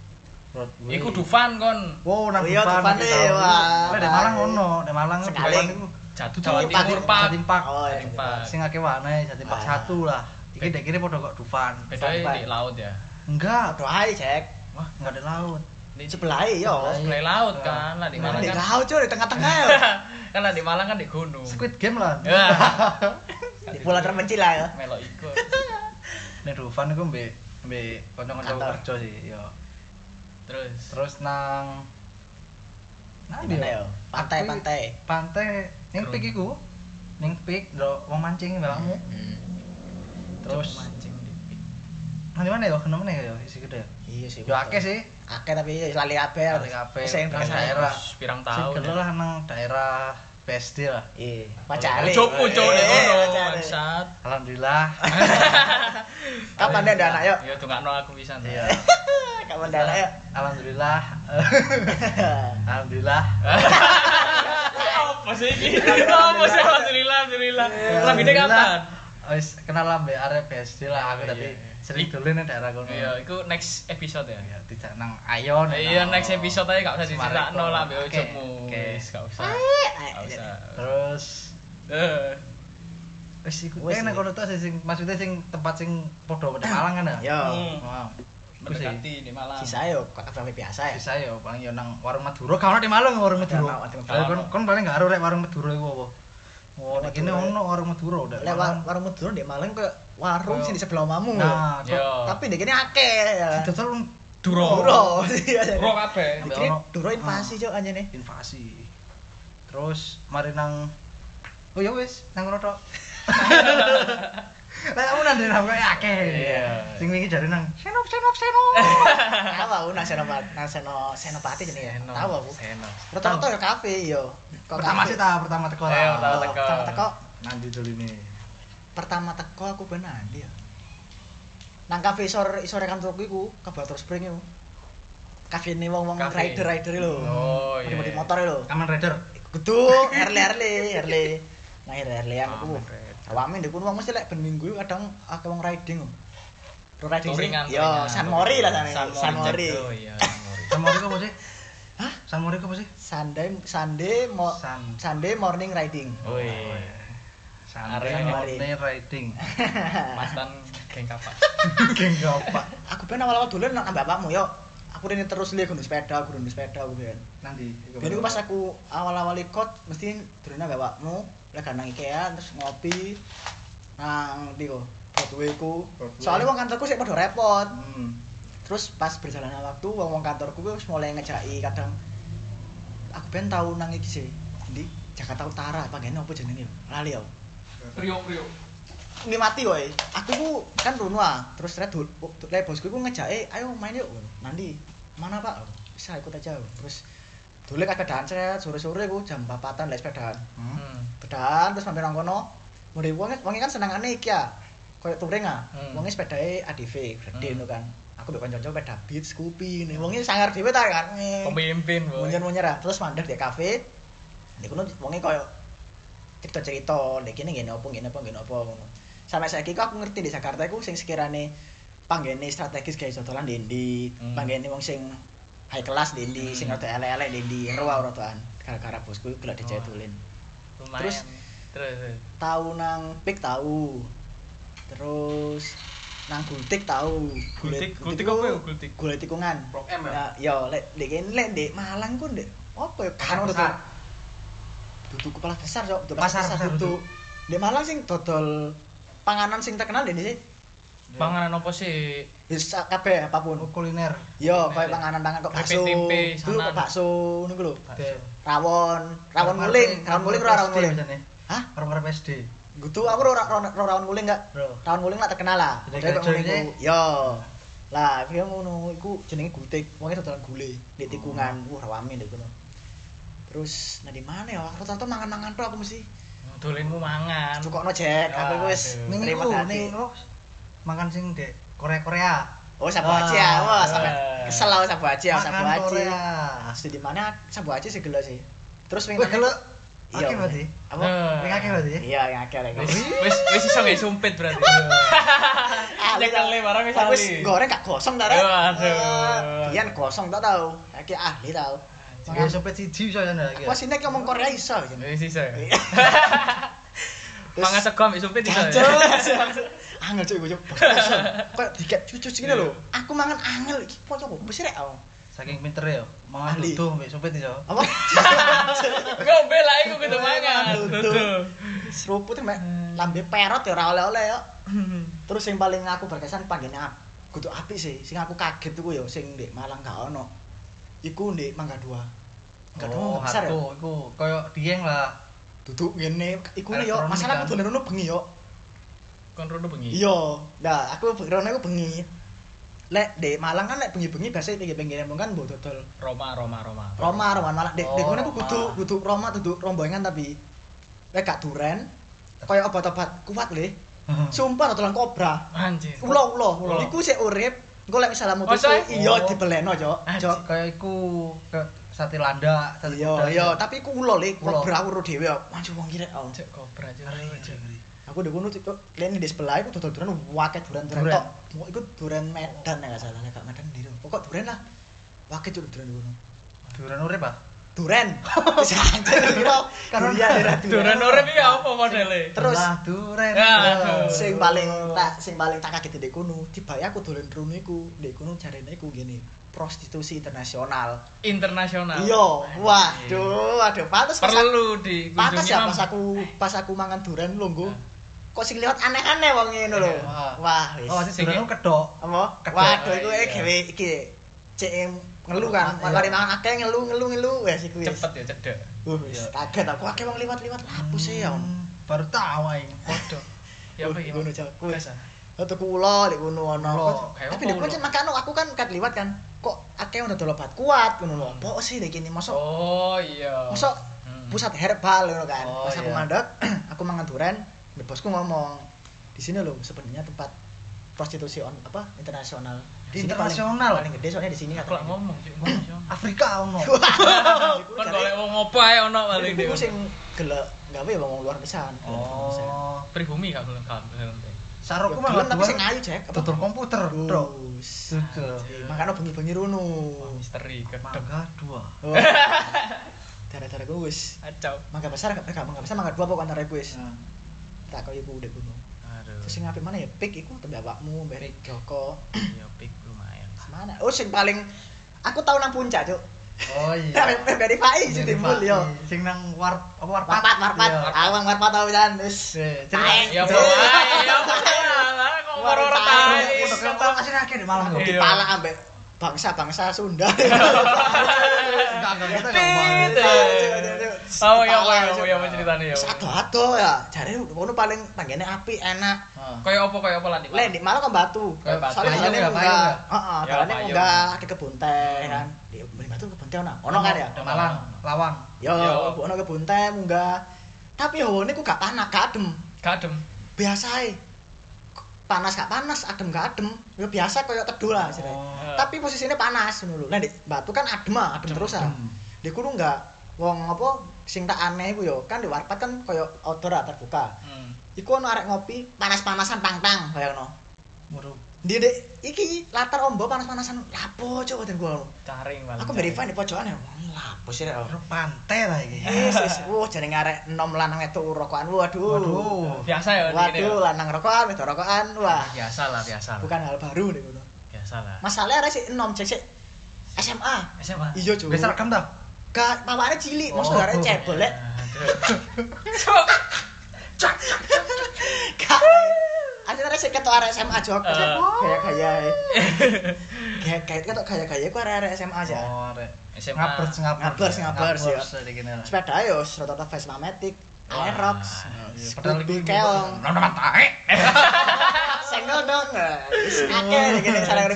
[SPEAKER 2] Broadway
[SPEAKER 3] Iku Dufan kon.
[SPEAKER 2] wow nang
[SPEAKER 1] Oh iya,
[SPEAKER 2] Dufan,
[SPEAKER 1] Dufan
[SPEAKER 2] kita
[SPEAKER 1] nih,
[SPEAKER 2] tahu.
[SPEAKER 1] wah.
[SPEAKER 2] Lah, di Malang ono di Malang
[SPEAKER 1] Sekali.
[SPEAKER 2] Dufan iku
[SPEAKER 3] Jatuh Jawa
[SPEAKER 1] Jatim Pak.
[SPEAKER 3] Timur Pak.
[SPEAKER 2] Jatim Park
[SPEAKER 1] Oh, iya.
[SPEAKER 3] Jatim Park.
[SPEAKER 2] sing akeh warna Jatim Park
[SPEAKER 1] Ah.
[SPEAKER 2] satu lah iki dek kene padha kok Dufan
[SPEAKER 3] Bedanya
[SPEAKER 1] Sampai.
[SPEAKER 3] di laut ya.
[SPEAKER 2] enggak
[SPEAKER 1] Aduh ae Jack.
[SPEAKER 2] wah enggak ada laut
[SPEAKER 1] Hmm.
[SPEAKER 3] Di
[SPEAKER 1] Sebelah ae yo.
[SPEAKER 2] Sebelah
[SPEAKER 3] Oh, sebelah laut kan lah di Malang
[SPEAKER 1] Di
[SPEAKER 3] kan.
[SPEAKER 1] laut cuy, di tengah-tengah ya.
[SPEAKER 3] Kan lah di Malang kan di gunung.
[SPEAKER 2] Squid Game lah
[SPEAKER 3] Ya.
[SPEAKER 1] Di pulau terpencil lah ya.
[SPEAKER 3] Melok iku.
[SPEAKER 2] nek Dufan iku mbek mbek kanca-kanca
[SPEAKER 1] Kantor.
[SPEAKER 2] kerja sih yo
[SPEAKER 3] Terus.
[SPEAKER 2] terus nang nang
[SPEAKER 1] Di mana ya?
[SPEAKER 2] ndi, ya?
[SPEAKER 1] yo? Pantai-pantai.
[SPEAKER 2] pantai ning
[SPEAKER 3] Terus.
[SPEAKER 2] pik iku ning pik lo wong mancing bapakmu
[SPEAKER 1] Hmm.
[SPEAKER 2] terus
[SPEAKER 3] Coba mancing di pik.
[SPEAKER 2] nang di mana ya kenapa nih ya isi gede ya?
[SPEAKER 1] Iya sih.
[SPEAKER 2] yo akeh sih
[SPEAKER 1] Akeh tapi ya lali kabeh.
[SPEAKER 2] Lali kabeh.
[SPEAKER 1] Sing
[SPEAKER 2] Nang
[SPEAKER 1] biasa.
[SPEAKER 2] daerah.
[SPEAKER 3] Terus pirang
[SPEAKER 2] sing
[SPEAKER 3] tahun.
[SPEAKER 2] gede
[SPEAKER 3] ya.
[SPEAKER 2] lah nang daerah PSD lah
[SPEAKER 1] Iya, pacare.
[SPEAKER 3] Cukup Eh, cuk
[SPEAKER 1] Eh,
[SPEAKER 3] nek ngono
[SPEAKER 1] Pacare.
[SPEAKER 3] bangsat.
[SPEAKER 2] alhamdulillah
[SPEAKER 1] Kapan dia ada anak yo?
[SPEAKER 3] Ya dongakno aku pisan.
[SPEAKER 2] iya
[SPEAKER 1] Kapan dia ada anak yo?
[SPEAKER 2] alhamdulillah alhamdulillah
[SPEAKER 3] Apa sih ini? Apa sih alhamdulillah alhamdulillah.
[SPEAKER 2] Iya.
[SPEAKER 3] Lambine kapan?
[SPEAKER 2] wis kenal lah mbak area PSD lah aku
[SPEAKER 3] Iya,
[SPEAKER 2] tapi
[SPEAKER 3] iya.
[SPEAKER 2] sering dulu nih daerah kono
[SPEAKER 3] Iya, iku next episode ya.
[SPEAKER 2] ya tidak nang ayon
[SPEAKER 3] Iya, next episode aja gak usah diceritakno lah mbek
[SPEAKER 2] Oke,
[SPEAKER 3] ujungmu.
[SPEAKER 2] oke. Iya.
[SPEAKER 3] Wis gak usah. Gak
[SPEAKER 1] Eh,
[SPEAKER 3] usah.
[SPEAKER 2] terus
[SPEAKER 3] Eh,
[SPEAKER 2] Wis iku
[SPEAKER 1] Wis,
[SPEAKER 2] kan nek
[SPEAKER 1] iya.
[SPEAKER 2] kono tok sing- sing maksudnya sing tempat sing podo podo Malang kan ya.
[SPEAKER 1] Yo.
[SPEAKER 3] Hmm.
[SPEAKER 2] Wow. sih.
[SPEAKER 4] mendekati di Malang
[SPEAKER 1] Sisa yo kafe biasa ya.
[SPEAKER 2] Bisa yo paling yo nang warung Madura. Kalau di Malang warung
[SPEAKER 1] Nang
[SPEAKER 2] Madura.
[SPEAKER 1] warung Madura.
[SPEAKER 2] Lah, Kon kon paling gak arep lek warung Madura iku apa. Oh,
[SPEAKER 1] Warung
[SPEAKER 2] nek kene
[SPEAKER 1] Madura.
[SPEAKER 2] ono warung Madura udah.
[SPEAKER 1] Lek war- warung Madura di Malang ke warung
[SPEAKER 2] Kayak-
[SPEAKER 1] sini sebelah omamu.
[SPEAKER 2] Nah,
[SPEAKER 3] Yo.
[SPEAKER 2] kok
[SPEAKER 1] Tapi di kene akeh. ya.
[SPEAKER 2] ditotal
[SPEAKER 3] Duro.
[SPEAKER 1] Duro. Iya, iya.
[SPEAKER 3] Duro kabeh.
[SPEAKER 1] Di kene duro invasi cok anjene.
[SPEAKER 2] invasi. Terus mari nang Oh ya wis, nang ngono tok. Lah kamu nandri nang kowe akeh.
[SPEAKER 3] Iya.
[SPEAKER 2] Sing wingi jare nang senop senop senop.
[SPEAKER 1] Tahu aku nang senopati, nang seno senopati jenenge. ya?
[SPEAKER 3] Seno.
[SPEAKER 1] Tahu aku.
[SPEAKER 3] Seno.
[SPEAKER 1] Rata-rata yo kafe yo. Kok
[SPEAKER 2] Pertama
[SPEAKER 1] kafe.
[SPEAKER 2] sih ta, pertama teko
[SPEAKER 3] Ayo,
[SPEAKER 2] lah.
[SPEAKER 3] tak
[SPEAKER 1] Oh,
[SPEAKER 3] teko.
[SPEAKER 1] Pertama teko.
[SPEAKER 2] Nanti dulu ini.
[SPEAKER 1] Pertama teko aku ben nanti ya. Nang kafe isor isore kantorku iku, Kabupaten Spring iku. Kafene wong-wong
[SPEAKER 3] Kafe.
[SPEAKER 1] rider-rider lho.
[SPEAKER 3] Oh, iya,
[SPEAKER 1] Modi
[SPEAKER 3] iya.
[SPEAKER 1] motor lho.
[SPEAKER 2] Kamen Rider.
[SPEAKER 1] Kudu Harley Harley Harley. Nah Harley Harley yang aku.
[SPEAKER 3] Aman, Red.
[SPEAKER 1] Awakmu ndek kuwi wong mesti lek ben minggu iku kadang akeh wong riding. Ro riding sih.
[SPEAKER 3] Touringan,
[SPEAKER 1] Yo
[SPEAKER 3] touringan.
[SPEAKER 1] San Mori lah sana. San Mori.
[SPEAKER 3] Jago, iya, San Mori.
[SPEAKER 2] Samori apa sih?
[SPEAKER 1] Hah? Oh.
[SPEAKER 2] Samori apa sih?
[SPEAKER 1] Sunday Sunday mo
[SPEAKER 2] San.
[SPEAKER 1] Sunday morning riding.
[SPEAKER 3] Woi.
[SPEAKER 2] Samori
[SPEAKER 3] Arek.
[SPEAKER 2] Morning Riding.
[SPEAKER 3] Mastan geng kapak.
[SPEAKER 2] Geng apa?
[SPEAKER 1] aku ben awal-awal dolen nang ambek bapakmu yo. Aku rene terus lihat gunung sepeda, gunung sepeda aku ben.
[SPEAKER 2] Nanti.
[SPEAKER 1] Ben iku pas aku awal-awal ikut mesti dolen nang ambek bapakmu, lek nang IKEA terus ngopi nang ndi kok Broadway ku.
[SPEAKER 2] Broadway.
[SPEAKER 1] Soalnya wong kantorku sik padha repot.
[SPEAKER 2] Hmm.
[SPEAKER 1] Terus pas berjalannya waktu wong-wong kantorku wis mulai ngejaki kadang aku ben tau nang iki sih. Ndi Jakarta Utara, panggene apa jenenge yo? Lali yo.
[SPEAKER 4] Priok Priok
[SPEAKER 1] ini mati woy aku ku kan runo ah terus red dul le bosku ku ngejake ayo main yuk nanti mana pak bisa ikut aja terus dulu kagak dancer sore sore ku jam papatan les sepedaan
[SPEAKER 2] Hmm.
[SPEAKER 3] Hmm.
[SPEAKER 1] sepedaan terus mampir nang kono mulai wong wong kan senengane iki ya koyo touring ah
[SPEAKER 3] Hmm.
[SPEAKER 1] wonge sepedae ADV gede ngono
[SPEAKER 3] Hmm.
[SPEAKER 1] kan aku mbek kanca-kanca sepeda beat Scoopy ne wonge sangar dhewe ta kan
[SPEAKER 3] Pemimpin, Boy.
[SPEAKER 1] munyer-munyer ah terus mandek di kafe nek kono wonge koyo cerita-cerita nek kene ngene opo ngene opo ngene opo ngono sampai saiki kok aku ngerti di Jakarta iku sing sekirane panggene strategis gawe dodolan dendi
[SPEAKER 3] Hmm.
[SPEAKER 1] panggene wong sing high class dendi sing
[SPEAKER 3] Hmm.
[SPEAKER 1] rada elek-elek dendi roa rotoan gara-gara bosku iku gelek
[SPEAKER 3] Oh.
[SPEAKER 1] dicetulin
[SPEAKER 3] Lumayan.
[SPEAKER 1] Terus?
[SPEAKER 3] Terus terus.
[SPEAKER 1] tahu nang pik tahu terus nang gultik tahu
[SPEAKER 3] Gultik, gultik
[SPEAKER 1] ku-
[SPEAKER 3] apa ya gultik?
[SPEAKER 1] gultik tikungan
[SPEAKER 2] Blok M ya?
[SPEAKER 1] Nah, yo lek lek kene- lek ndek Malang ku ndek apa ya kan
[SPEAKER 2] Pasar.
[SPEAKER 1] duduk duduk kepala besar yo duduk
[SPEAKER 2] Pasar, pasar
[SPEAKER 1] duduk ndek Malang sing dodol panganan sing terkenal ndek sih
[SPEAKER 3] Panganan apa sih?
[SPEAKER 1] wis kabeh apapun
[SPEAKER 2] Oh, kuliner.
[SPEAKER 1] yo koyo panganan-panganan kok bakso
[SPEAKER 3] Tempe-tempe,
[SPEAKER 1] dulu kok
[SPEAKER 3] sanan.
[SPEAKER 1] bakso ngono ku lho
[SPEAKER 2] Be-
[SPEAKER 1] rawon rawon
[SPEAKER 2] Warung
[SPEAKER 1] muling
[SPEAKER 2] Arab-
[SPEAKER 1] rawon muling ora
[SPEAKER 2] Arab
[SPEAKER 1] rawon
[SPEAKER 2] SD
[SPEAKER 1] muling
[SPEAKER 2] biasanya.
[SPEAKER 1] hah
[SPEAKER 2] Warung Arab SD.
[SPEAKER 1] Gitu aku ora ora ora rawon guling enggak.
[SPEAKER 2] Bro.
[SPEAKER 1] Rawon guling lah terkenal lah.
[SPEAKER 2] Jadi
[SPEAKER 1] Jadi kok
[SPEAKER 2] kacau
[SPEAKER 1] ngene
[SPEAKER 2] ini.
[SPEAKER 1] iku. Yo. Lah, piye ngono iku jenenge gutik. Wong dodolan gule di
[SPEAKER 2] Hmm.
[SPEAKER 1] tikungan. Wah, rawame lho kono. Terus nah di mana ya? Rata-rata mangan-mangan tok aku mesti.
[SPEAKER 2] Anu.
[SPEAKER 3] Dolenmu mangan.
[SPEAKER 1] Cukokno Jack, aku iku wis
[SPEAKER 3] Aduh.
[SPEAKER 2] Ning
[SPEAKER 1] terima
[SPEAKER 2] iku,
[SPEAKER 1] dadi.
[SPEAKER 2] ning iku makan sing dek Korea-Korea.
[SPEAKER 1] Oh, sabu
[SPEAKER 2] Wah.
[SPEAKER 1] aji ya. Wah, sampe kesel aku sabu aji ya, sabu
[SPEAKER 2] Makan
[SPEAKER 1] aji.
[SPEAKER 2] Korea.
[SPEAKER 1] Asli di mana sabu aji sih gelo sih. Terus wing
[SPEAKER 2] Wih, gelo.
[SPEAKER 1] Iya.
[SPEAKER 2] Oke berarti. Nah.
[SPEAKER 1] Apa?
[SPEAKER 3] Eh.
[SPEAKER 2] Ning akeh berarti.
[SPEAKER 1] Iya, yang akeh lek.
[SPEAKER 3] Wis wis wis iso gak sumpit berarti.
[SPEAKER 1] Ali
[SPEAKER 3] Nyekel le barang wis
[SPEAKER 1] Tapi
[SPEAKER 3] ali.
[SPEAKER 1] goreng gak gosong ta, Rek?
[SPEAKER 3] Yo, aduh.
[SPEAKER 1] Eh, Biyen gosong tak tau. Iki ahli tau.
[SPEAKER 2] Ya sopet siji iso jane iki.
[SPEAKER 1] Wah, sini ngomong Korea iso. Jan.
[SPEAKER 3] Wis iso.
[SPEAKER 1] Iya. Terus-
[SPEAKER 3] Mangan sego ambek sumpit iso.
[SPEAKER 1] Jancuk.
[SPEAKER 3] ya?
[SPEAKER 1] Angel cuy gue coba. Kayak diket cucu gini
[SPEAKER 3] Iya.
[SPEAKER 1] lho. Aku mangan angel iki. Pocok kok mesti rek aku.
[SPEAKER 2] Saking pinter ya. Mangan
[SPEAKER 1] Ahli.
[SPEAKER 2] duduh mbek sopet iso.
[SPEAKER 1] Apa?
[SPEAKER 3] Ngombe lah iku
[SPEAKER 1] Iya,
[SPEAKER 3] kudu mangan.
[SPEAKER 1] Duduh. Seruput mek
[SPEAKER 3] Hmm.
[SPEAKER 1] lambe perot ya ora oleh-oleh yo. Terus yang paling aku berkesan panggilnya kudu api sih. Sing aku kaget iku ya sing ndek Malang gak ono. Iku ndek Mangga Dua. Mangga Dua
[SPEAKER 2] Oh,
[SPEAKER 1] nggak besar ya.
[SPEAKER 2] aku iku koyo dieng lah.
[SPEAKER 1] Duduk ngene iku nih yo
[SPEAKER 2] Elektronik
[SPEAKER 1] masalah aku
[SPEAKER 2] kan. Hmm.
[SPEAKER 1] dolen ono bengi yo.
[SPEAKER 3] Kon rono bengi.
[SPEAKER 1] Iya. Nah, aku rono aku bengi. Lek ndek Malang kan lek bengi-bengi biasa pinggir-pinggir embung kan mbok dodol
[SPEAKER 3] Roma Roma Roma.
[SPEAKER 1] Roma, Roma malah dek dek
[SPEAKER 2] Oh,
[SPEAKER 1] kono aku
[SPEAKER 2] Roma.
[SPEAKER 1] kudu kudu Roma kudu rombongan tapi lek gak duren kaya obat-obat kuat le.
[SPEAKER 2] Hmm.
[SPEAKER 1] Sumpah dodolan kobra.
[SPEAKER 3] Anjir.
[SPEAKER 1] ulo ulo ulo
[SPEAKER 3] Ulo.
[SPEAKER 1] iku sik urip engko lek misalnya mutus
[SPEAKER 3] Masa?
[SPEAKER 1] iya
[SPEAKER 2] Oh.
[SPEAKER 1] dibeleno cok cok
[SPEAKER 2] Koyo iku koyo sate landak, sate
[SPEAKER 1] iya
[SPEAKER 2] kuda.
[SPEAKER 1] iya tapi iku ulo le
[SPEAKER 2] Ulo.
[SPEAKER 1] kobra uru dhewe kok mancu wong oh. kirek om
[SPEAKER 3] Cek kobra cek.
[SPEAKER 1] aku ndek kono cok lene di sebelah iku dodol duren waket duren duren
[SPEAKER 2] Duren.
[SPEAKER 1] tok Pokok iku duren Medan ya gak salah nek gak Medan ndi pokok duren lah waket cok duren kono
[SPEAKER 2] Duran urip ah.
[SPEAKER 1] duren. Sanjir kira
[SPEAKER 2] Karena-
[SPEAKER 1] durian kira
[SPEAKER 3] Duren urip iki apa modele?
[SPEAKER 1] Terus-
[SPEAKER 2] Lah, duren.
[SPEAKER 3] Ya, aduh.
[SPEAKER 1] sing paling tak sing paling tak kaget ndek kono, tibae aku dolen rono iku, ndek kono jarene iku gini prostitusi internasional.
[SPEAKER 3] Internasional.
[SPEAKER 1] Iya, waduh, waduh, pantes pas aku,
[SPEAKER 3] Nah. Perlu di
[SPEAKER 1] pantes ya pas aku pas aku mangan duren lungguh. Kok sing liwat aneh-aneh wong ngene lho.
[SPEAKER 2] Wah.
[SPEAKER 1] Wah,
[SPEAKER 2] Oh,
[SPEAKER 1] wis.
[SPEAKER 2] sih duren ku kedok.
[SPEAKER 1] Apa?
[SPEAKER 2] Kedok.
[SPEAKER 1] Waduh, iku
[SPEAKER 3] Iya.
[SPEAKER 1] eh gawe iki CM ngelu kan,
[SPEAKER 2] Iya.
[SPEAKER 1] mari mangan akeh ngelu ngelu ngelu wes iku wis.
[SPEAKER 3] cepet ya cedek.
[SPEAKER 1] Uh, wis
[SPEAKER 2] Iya.
[SPEAKER 1] kaget aku akeh wong liwat-liwat lapo sih ya. ono.
[SPEAKER 2] Hmm, Baru tahu aing. Waduh.
[SPEAKER 3] Ya apa
[SPEAKER 1] Duh,
[SPEAKER 3] iki?
[SPEAKER 1] ngono jauh. Kuwi.
[SPEAKER 3] Biasa.
[SPEAKER 1] Atau kulo di kono ono.
[SPEAKER 2] Kulo,
[SPEAKER 3] kayak
[SPEAKER 1] Tapi di
[SPEAKER 3] apa
[SPEAKER 1] kono
[SPEAKER 3] kulo?
[SPEAKER 1] cek makano aku kan kat liwat kan. Kok akeh ono dol obat kuat ngono lho. Apa sih lek ini mosok
[SPEAKER 3] Oh iya.
[SPEAKER 1] mosok
[SPEAKER 3] Hmm.
[SPEAKER 1] pusat herbal ngono kan.
[SPEAKER 2] Oh,
[SPEAKER 1] Pas aku
[SPEAKER 2] iya.
[SPEAKER 1] mandek, aku mangan duren, mbek bosku ngomong, di sini lho sebenarnya tempat prostitusi on apa internasional. Di sini paling-
[SPEAKER 2] Internasional?
[SPEAKER 1] paling, gede soalnya di sini
[SPEAKER 3] aku lak ngomong sih ngomong.
[SPEAKER 2] Afrika ono.
[SPEAKER 3] Kan golek wong ngopo ae ono paling
[SPEAKER 1] Iku
[SPEAKER 3] dhewe.
[SPEAKER 1] sing gelek gawe ya wong luar pisan. gelek wong luar pisan.
[SPEAKER 2] Oh.
[SPEAKER 3] Pribumi gak gelem gak gelem.
[SPEAKER 1] Ya,
[SPEAKER 2] Sarungku
[SPEAKER 1] gelem
[SPEAKER 2] malah
[SPEAKER 1] tapi sing
[SPEAKER 2] duren.
[SPEAKER 1] ayu Jack. Apa?
[SPEAKER 2] Tutur komputer, Bro.
[SPEAKER 1] Wus.
[SPEAKER 2] Tutur.
[SPEAKER 1] Makanya bengi-bengi rono. Oh.
[SPEAKER 3] Misteri kedep.
[SPEAKER 2] Mangga dua.
[SPEAKER 1] Wah. Darah-darah gue wis.
[SPEAKER 3] Acau.
[SPEAKER 1] Mangga besar eh, gak pegang, mangga besar mangga dua pokok antara gue wis.
[SPEAKER 2] Nah,
[SPEAKER 1] Tak kau ibu udah bunuh.
[SPEAKER 2] Hmm.
[SPEAKER 3] Aduh.
[SPEAKER 1] Terus sing ngapain mana ya? Pik iku tembak awakmu, mbak
[SPEAKER 3] Pik.
[SPEAKER 1] Joko.
[SPEAKER 3] Ya pik lumayan.
[SPEAKER 1] Mana? Oh sing paling aku tau nang puncak, Cuk.
[SPEAKER 2] Oh
[SPEAKER 1] Sampai
[SPEAKER 2] iya.
[SPEAKER 1] dari Fai sih timbul yo.
[SPEAKER 2] Sing nang war apa warpat?
[SPEAKER 1] Warpat, warpat.
[SPEAKER 2] Iya.
[SPEAKER 1] Aku nang warpat tau kan wis.
[SPEAKER 2] Eh,
[SPEAKER 1] Taek.
[SPEAKER 3] Ya bro, ae, ya bro. Lah kok ngoror tae.
[SPEAKER 2] Udah kayak orang kasih rakyat di malam.
[SPEAKER 3] Iya.
[SPEAKER 1] Dipalak ambek bangsa-bangsa Sunda.
[SPEAKER 2] Enggak, enggak, kita enggak mau.
[SPEAKER 3] Tete. Oh iya iya iya iya apa ceritane ya.
[SPEAKER 1] Sado-ado ya. Jare kono paling panggene api enak.
[SPEAKER 2] Heeh.
[SPEAKER 3] Kayak apa kayak apa lan iki?
[SPEAKER 1] Lain di malah kan batu.
[SPEAKER 3] Kayak batu.
[SPEAKER 1] Soalnya
[SPEAKER 2] Payung
[SPEAKER 1] jalannya
[SPEAKER 2] ya,
[SPEAKER 1] munggah.
[SPEAKER 2] payung ya?
[SPEAKER 1] Heeh,
[SPEAKER 3] Ya,
[SPEAKER 1] jalannya
[SPEAKER 3] payung.
[SPEAKER 1] munggah ada kebun teh kan. Di beli batu kebun teh ono. Ono kan ya?
[SPEAKER 2] Ada Malang, Lawang.
[SPEAKER 1] Yo,
[SPEAKER 3] Yo.
[SPEAKER 1] aku ono kebun teh munggah. Tapi hawane ku gak panas, gak adem.
[SPEAKER 3] Kadem.
[SPEAKER 1] Biasa ae. Panas gak panas, adem gak adem. Ya biasa koyo teduh lah sih.
[SPEAKER 2] Oh.
[SPEAKER 1] Tapi posisinya panas ngono lho. Lah di batu kan adem ah, adem,
[SPEAKER 3] Adem,
[SPEAKER 1] terus ah.
[SPEAKER 2] adem.
[SPEAKER 1] Di kudu enggak wong apa sing tak aneh iku yo kan di warpat kan koyo outdoor ah, terbuka.
[SPEAKER 3] Hmm.
[SPEAKER 1] Iku ono arek ngopi panas-panasan tang-tang bayangno.
[SPEAKER 2] Waduh.
[SPEAKER 1] Dia dek, iki latar ombo panas-panasan lapo coba dan gua
[SPEAKER 3] Caring paling.
[SPEAKER 1] Aku verify di pojokan ya, wong lapo sih rek.
[SPEAKER 2] Terus pantai lah ini.
[SPEAKER 1] Yes, yes. Wah, jeneng arek enom lanang itu rokokan. Waduh.
[SPEAKER 2] Waduh.
[SPEAKER 3] Biasa ya gini ya?
[SPEAKER 1] Waduh, lanang rokokan, wedok rokokan. Wah,
[SPEAKER 3] Biasa lah, biasa lah.
[SPEAKER 1] bukan hal baru nih ngono.
[SPEAKER 3] Biasa lah.
[SPEAKER 1] Masalahnya arek sih enom cek sik SMA.
[SPEAKER 3] SMA.
[SPEAKER 1] Iya, Cuk.
[SPEAKER 2] Bisa rekam tak?
[SPEAKER 1] Gak pawakane cilik, maksud
[SPEAKER 2] Oh.
[SPEAKER 1] arek cebol lek.
[SPEAKER 3] Cuk.
[SPEAKER 1] Gak. Akhirnya arek sik ketok arek SMA jok.
[SPEAKER 3] Eh.
[SPEAKER 1] Gaya-gaya. e. Gaya-gaya ketok gaya-gaya ku arek-arek SMA aja.
[SPEAKER 2] Oh, rek.
[SPEAKER 3] SMA.
[SPEAKER 2] Ngabers, ngabers.
[SPEAKER 1] Ngabers, ngabers, ya.
[SPEAKER 2] Ngabers, kayak gini lah.
[SPEAKER 1] sepeda yo rata-rata Vespa Matic,
[SPEAKER 3] Wah,
[SPEAKER 1] Aerox, eh,
[SPEAKER 2] iya. Padahal
[SPEAKER 1] Scooby
[SPEAKER 2] ini-
[SPEAKER 1] Keong,
[SPEAKER 3] Nono matae.
[SPEAKER 1] senggol dong, eh. Wis akeh iki ning sarang urip.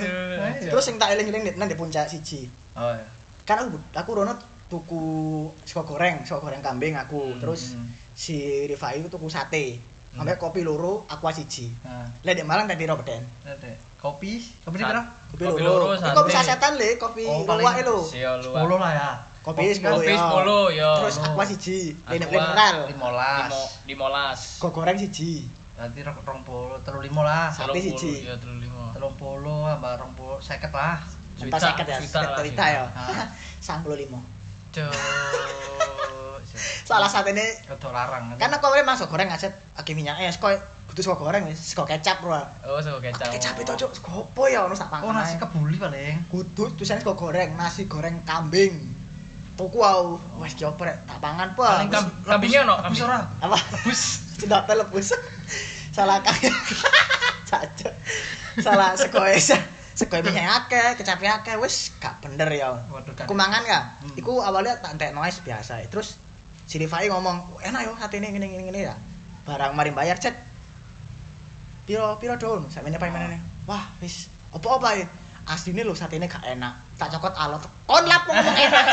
[SPEAKER 2] Iya.
[SPEAKER 1] Terus sing tak eling-eling nang di puncak siji.
[SPEAKER 2] Oh, iya.
[SPEAKER 1] Kan aku aku rono tuku sego goreng, sego goreng kambing aku. Terus
[SPEAKER 2] Hmm.
[SPEAKER 1] si Rifai itu tuku sate.
[SPEAKER 2] Hmm.
[SPEAKER 1] Ambek kopi loro, aqua siji.
[SPEAKER 2] Nah,
[SPEAKER 1] Lah di Malang tadi Robden.
[SPEAKER 2] lihat deh. Kopi, kopi ini berapa?
[SPEAKER 1] Kopi
[SPEAKER 3] Kopi
[SPEAKER 1] loro.
[SPEAKER 3] loro,
[SPEAKER 1] Ini Kopi
[SPEAKER 3] sate.
[SPEAKER 1] sasetan le, kopi
[SPEAKER 2] Oh, paling
[SPEAKER 1] luwak lho.
[SPEAKER 3] Sio lu.
[SPEAKER 2] 10 lah ya.
[SPEAKER 1] Kopi 10
[SPEAKER 3] Kopi kan sepuluh, yo.
[SPEAKER 1] Terus aqua siji,
[SPEAKER 3] Aqua.
[SPEAKER 1] ini mineral.
[SPEAKER 2] Limolas.
[SPEAKER 3] Limo- Dimolas.
[SPEAKER 1] Sego goreng siji.
[SPEAKER 2] Berarti rok- rong puluh, telu limo lah.
[SPEAKER 1] Sa-
[SPEAKER 3] Telung
[SPEAKER 1] Sate siji.
[SPEAKER 3] puluh, Ya telung limo.
[SPEAKER 2] Telung puluh, tambah rong puluh, seket lah.
[SPEAKER 1] Entah
[SPEAKER 3] Juta,
[SPEAKER 1] sakit ya,
[SPEAKER 3] juta lah,
[SPEAKER 1] sekitar ya.
[SPEAKER 2] Nah,
[SPEAKER 1] 95.
[SPEAKER 3] Cuk.
[SPEAKER 1] Salah satu ini
[SPEAKER 2] kedok larang.
[SPEAKER 1] karena kau memang sego goreng aset akeh minyaknya es kau butuh sego goreng wis sego kecap bro
[SPEAKER 3] Oh, sego kecap.
[SPEAKER 1] kecap itu cuk sego opo ya ono sak
[SPEAKER 2] Oh,
[SPEAKER 1] pangkat
[SPEAKER 2] nasi kebuli paling.
[SPEAKER 1] kudu tulisannya sego goreng nasi goreng kambing tuku aku wes ki opo rek tak pangan po
[SPEAKER 3] Paling kam- kambingnya ono,
[SPEAKER 2] Habis
[SPEAKER 3] kambing.
[SPEAKER 2] ora.
[SPEAKER 1] apa lebus cedak lebus salah kaki caca salah sego es sego minyak akeh kecapnya akeh wes gak bener ya
[SPEAKER 2] Waduh, gak
[SPEAKER 1] aku mangan ya
[SPEAKER 2] Hmm.
[SPEAKER 1] iku awalnya tak entek noise biasa ya. terus si Rifai ngomong enak yo hati ini ini ini ini ya barang mari bayar cet piro piro down sampe ini
[SPEAKER 3] Ah.
[SPEAKER 1] paling meneh. wah wis apa apa ya aslinya lo saat ini gak enak tak cokot alot kon lapo ngomong enak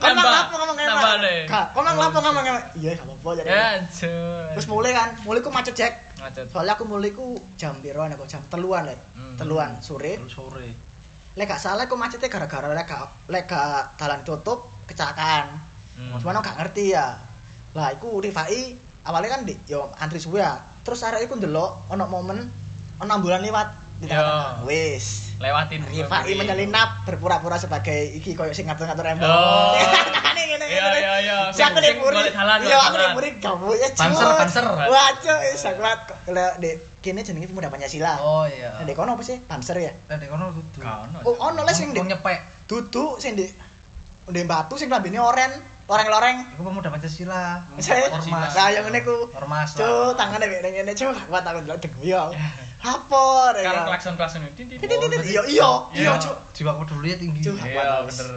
[SPEAKER 1] kon mang
[SPEAKER 3] Nambah,
[SPEAKER 1] lapo ngomong enak
[SPEAKER 3] nambah deh. Oh,
[SPEAKER 1] Gak, kon mang lapo ngomong enak iya gak apa-apa jadi
[SPEAKER 3] Ya, cuk.
[SPEAKER 1] terus mulai kan mulai ku macet jack
[SPEAKER 3] Ngacet.
[SPEAKER 1] soalnya aku mulai ku jam piroan aku jam teluan lek
[SPEAKER 3] Hmm.
[SPEAKER 1] teluan sore
[SPEAKER 2] Telu sore.
[SPEAKER 1] lek gak salah aku macetnya gara-gara lek gak lek gak dalan tutup kecelakaan
[SPEAKER 3] Hmm.
[SPEAKER 1] cuman aku gak ngerti ya lah iku Rifai awalnya kan di yo antri suwe ya terus arek iku ndelok ono momen ono ambulan lewat di
[SPEAKER 3] Yo.
[SPEAKER 1] tengah-tengah wis
[SPEAKER 3] Lewatin.
[SPEAKER 1] Rifai menyelinap berpura-pura sebagai iki koyo sing ngatur-ngatur Iya, kan embong
[SPEAKER 3] Oh.
[SPEAKER 1] tangane Cek aku ning murid.
[SPEAKER 3] golek dalan.
[SPEAKER 1] Iya, aku ning
[SPEAKER 3] dalan.
[SPEAKER 1] murid kamu ya.
[SPEAKER 3] Panser,
[SPEAKER 1] Cuk.
[SPEAKER 3] panser.
[SPEAKER 1] Wah, cuk, eh, saklat. Lah, Dek, kene jenenge pemuda Pancasila.
[SPEAKER 2] Oh
[SPEAKER 1] Nah,
[SPEAKER 2] iya.
[SPEAKER 1] Dek kono apa sih? Panser ya.
[SPEAKER 2] Lah dek kono kudu.
[SPEAKER 3] Gak ono.
[SPEAKER 1] Oh, ono les sing
[SPEAKER 2] Wong
[SPEAKER 1] Dek.
[SPEAKER 2] nyepek.
[SPEAKER 1] Dudu sing Dek. Ndek batu sing lambene oren, loreng-loreng.
[SPEAKER 2] Iku pemuda Pancasila.
[SPEAKER 1] Saya-
[SPEAKER 2] Ormas.
[SPEAKER 1] Lah, yang ngene ku.
[SPEAKER 2] Ormas.
[SPEAKER 1] Cuk, tangan nek ning ngene cuk, kuat aku ndelok deg yo. Apa rek?
[SPEAKER 3] Kalau klakson-klakson itu.
[SPEAKER 1] Titit, titit. Iya, iya, iya,
[SPEAKER 2] Cuk.
[SPEAKER 1] cuk.
[SPEAKER 2] Jiwa peduli tinggi.
[SPEAKER 1] Cuk.
[SPEAKER 3] Iya, bener.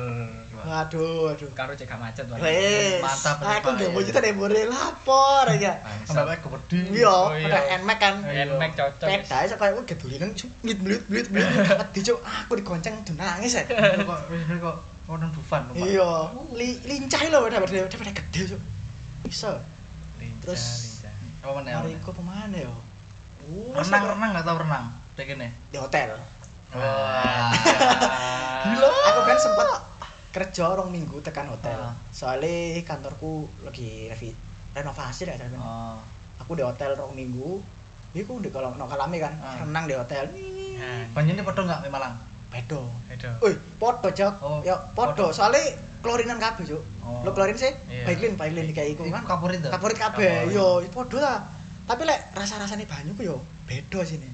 [SPEAKER 1] Waduh, aduh.
[SPEAKER 3] Karo cek gak macet. Wan.
[SPEAKER 1] Wes,
[SPEAKER 2] Mantap,
[SPEAKER 1] aku
[SPEAKER 2] Pak,
[SPEAKER 1] nggak
[SPEAKER 2] ya.
[SPEAKER 1] mau cerita deh, boleh lapor aja.
[SPEAKER 3] Bangsat.
[SPEAKER 2] Sampai kebedi.
[SPEAKER 1] Iya,
[SPEAKER 3] Oh, iya.
[SPEAKER 1] ada nmax kan.
[SPEAKER 2] Iya.
[SPEAKER 3] Nmax cocok. ya. guys.
[SPEAKER 1] Peda aja kayak "Oh, gue gedulinan, blit blit blit blit. Tadi cuk, aku digonceng udah nangis ya.
[SPEAKER 2] Kok wis bener kok ono bufan. Pak.
[SPEAKER 1] Iya, li, lincah loh, udah pada udah pada gede cuk. Bisa,
[SPEAKER 3] Lincah,
[SPEAKER 1] Terus,
[SPEAKER 3] lincah.
[SPEAKER 2] Apa meneh? apa
[SPEAKER 1] hari
[SPEAKER 2] meneh?
[SPEAKER 1] kok pemana yo? Wes,
[SPEAKER 2] Renang
[SPEAKER 1] aku-
[SPEAKER 2] renang enggak tahu renang. Dek kene.
[SPEAKER 1] di hotel.
[SPEAKER 2] Wah.
[SPEAKER 1] Aku kan sempat kerja orang minggu tekan hotel.
[SPEAKER 2] Ah.
[SPEAKER 1] Soalnya kantorku lagi revi- renovasi dah, sampean.
[SPEAKER 2] Oh.
[SPEAKER 1] aku di hotel rong minggu Iya, aku di kalau nong kalami kan,
[SPEAKER 2] Ah.
[SPEAKER 1] renang di hotel.
[SPEAKER 2] Panjenengan padha enggak di Malang?
[SPEAKER 1] Pedo.
[SPEAKER 3] Aduh.
[SPEAKER 1] Wih, podo cok.
[SPEAKER 2] Oh,
[SPEAKER 1] ya, podo.
[SPEAKER 2] podo.
[SPEAKER 1] Soalnya klorinan kabeh cok.
[SPEAKER 2] Oh.
[SPEAKER 1] Lo klorin sih,
[SPEAKER 3] Iya.
[SPEAKER 1] bailin, bailin kayak iku
[SPEAKER 2] Iku
[SPEAKER 1] kan.
[SPEAKER 2] kapurit to.
[SPEAKER 1] Kapurit kabeh,
[SPEAKER 3] Kapurit.
[SPEAKER 1] yo podo lah. Tapi lek rasa-rasane banyu ku yo beda sini.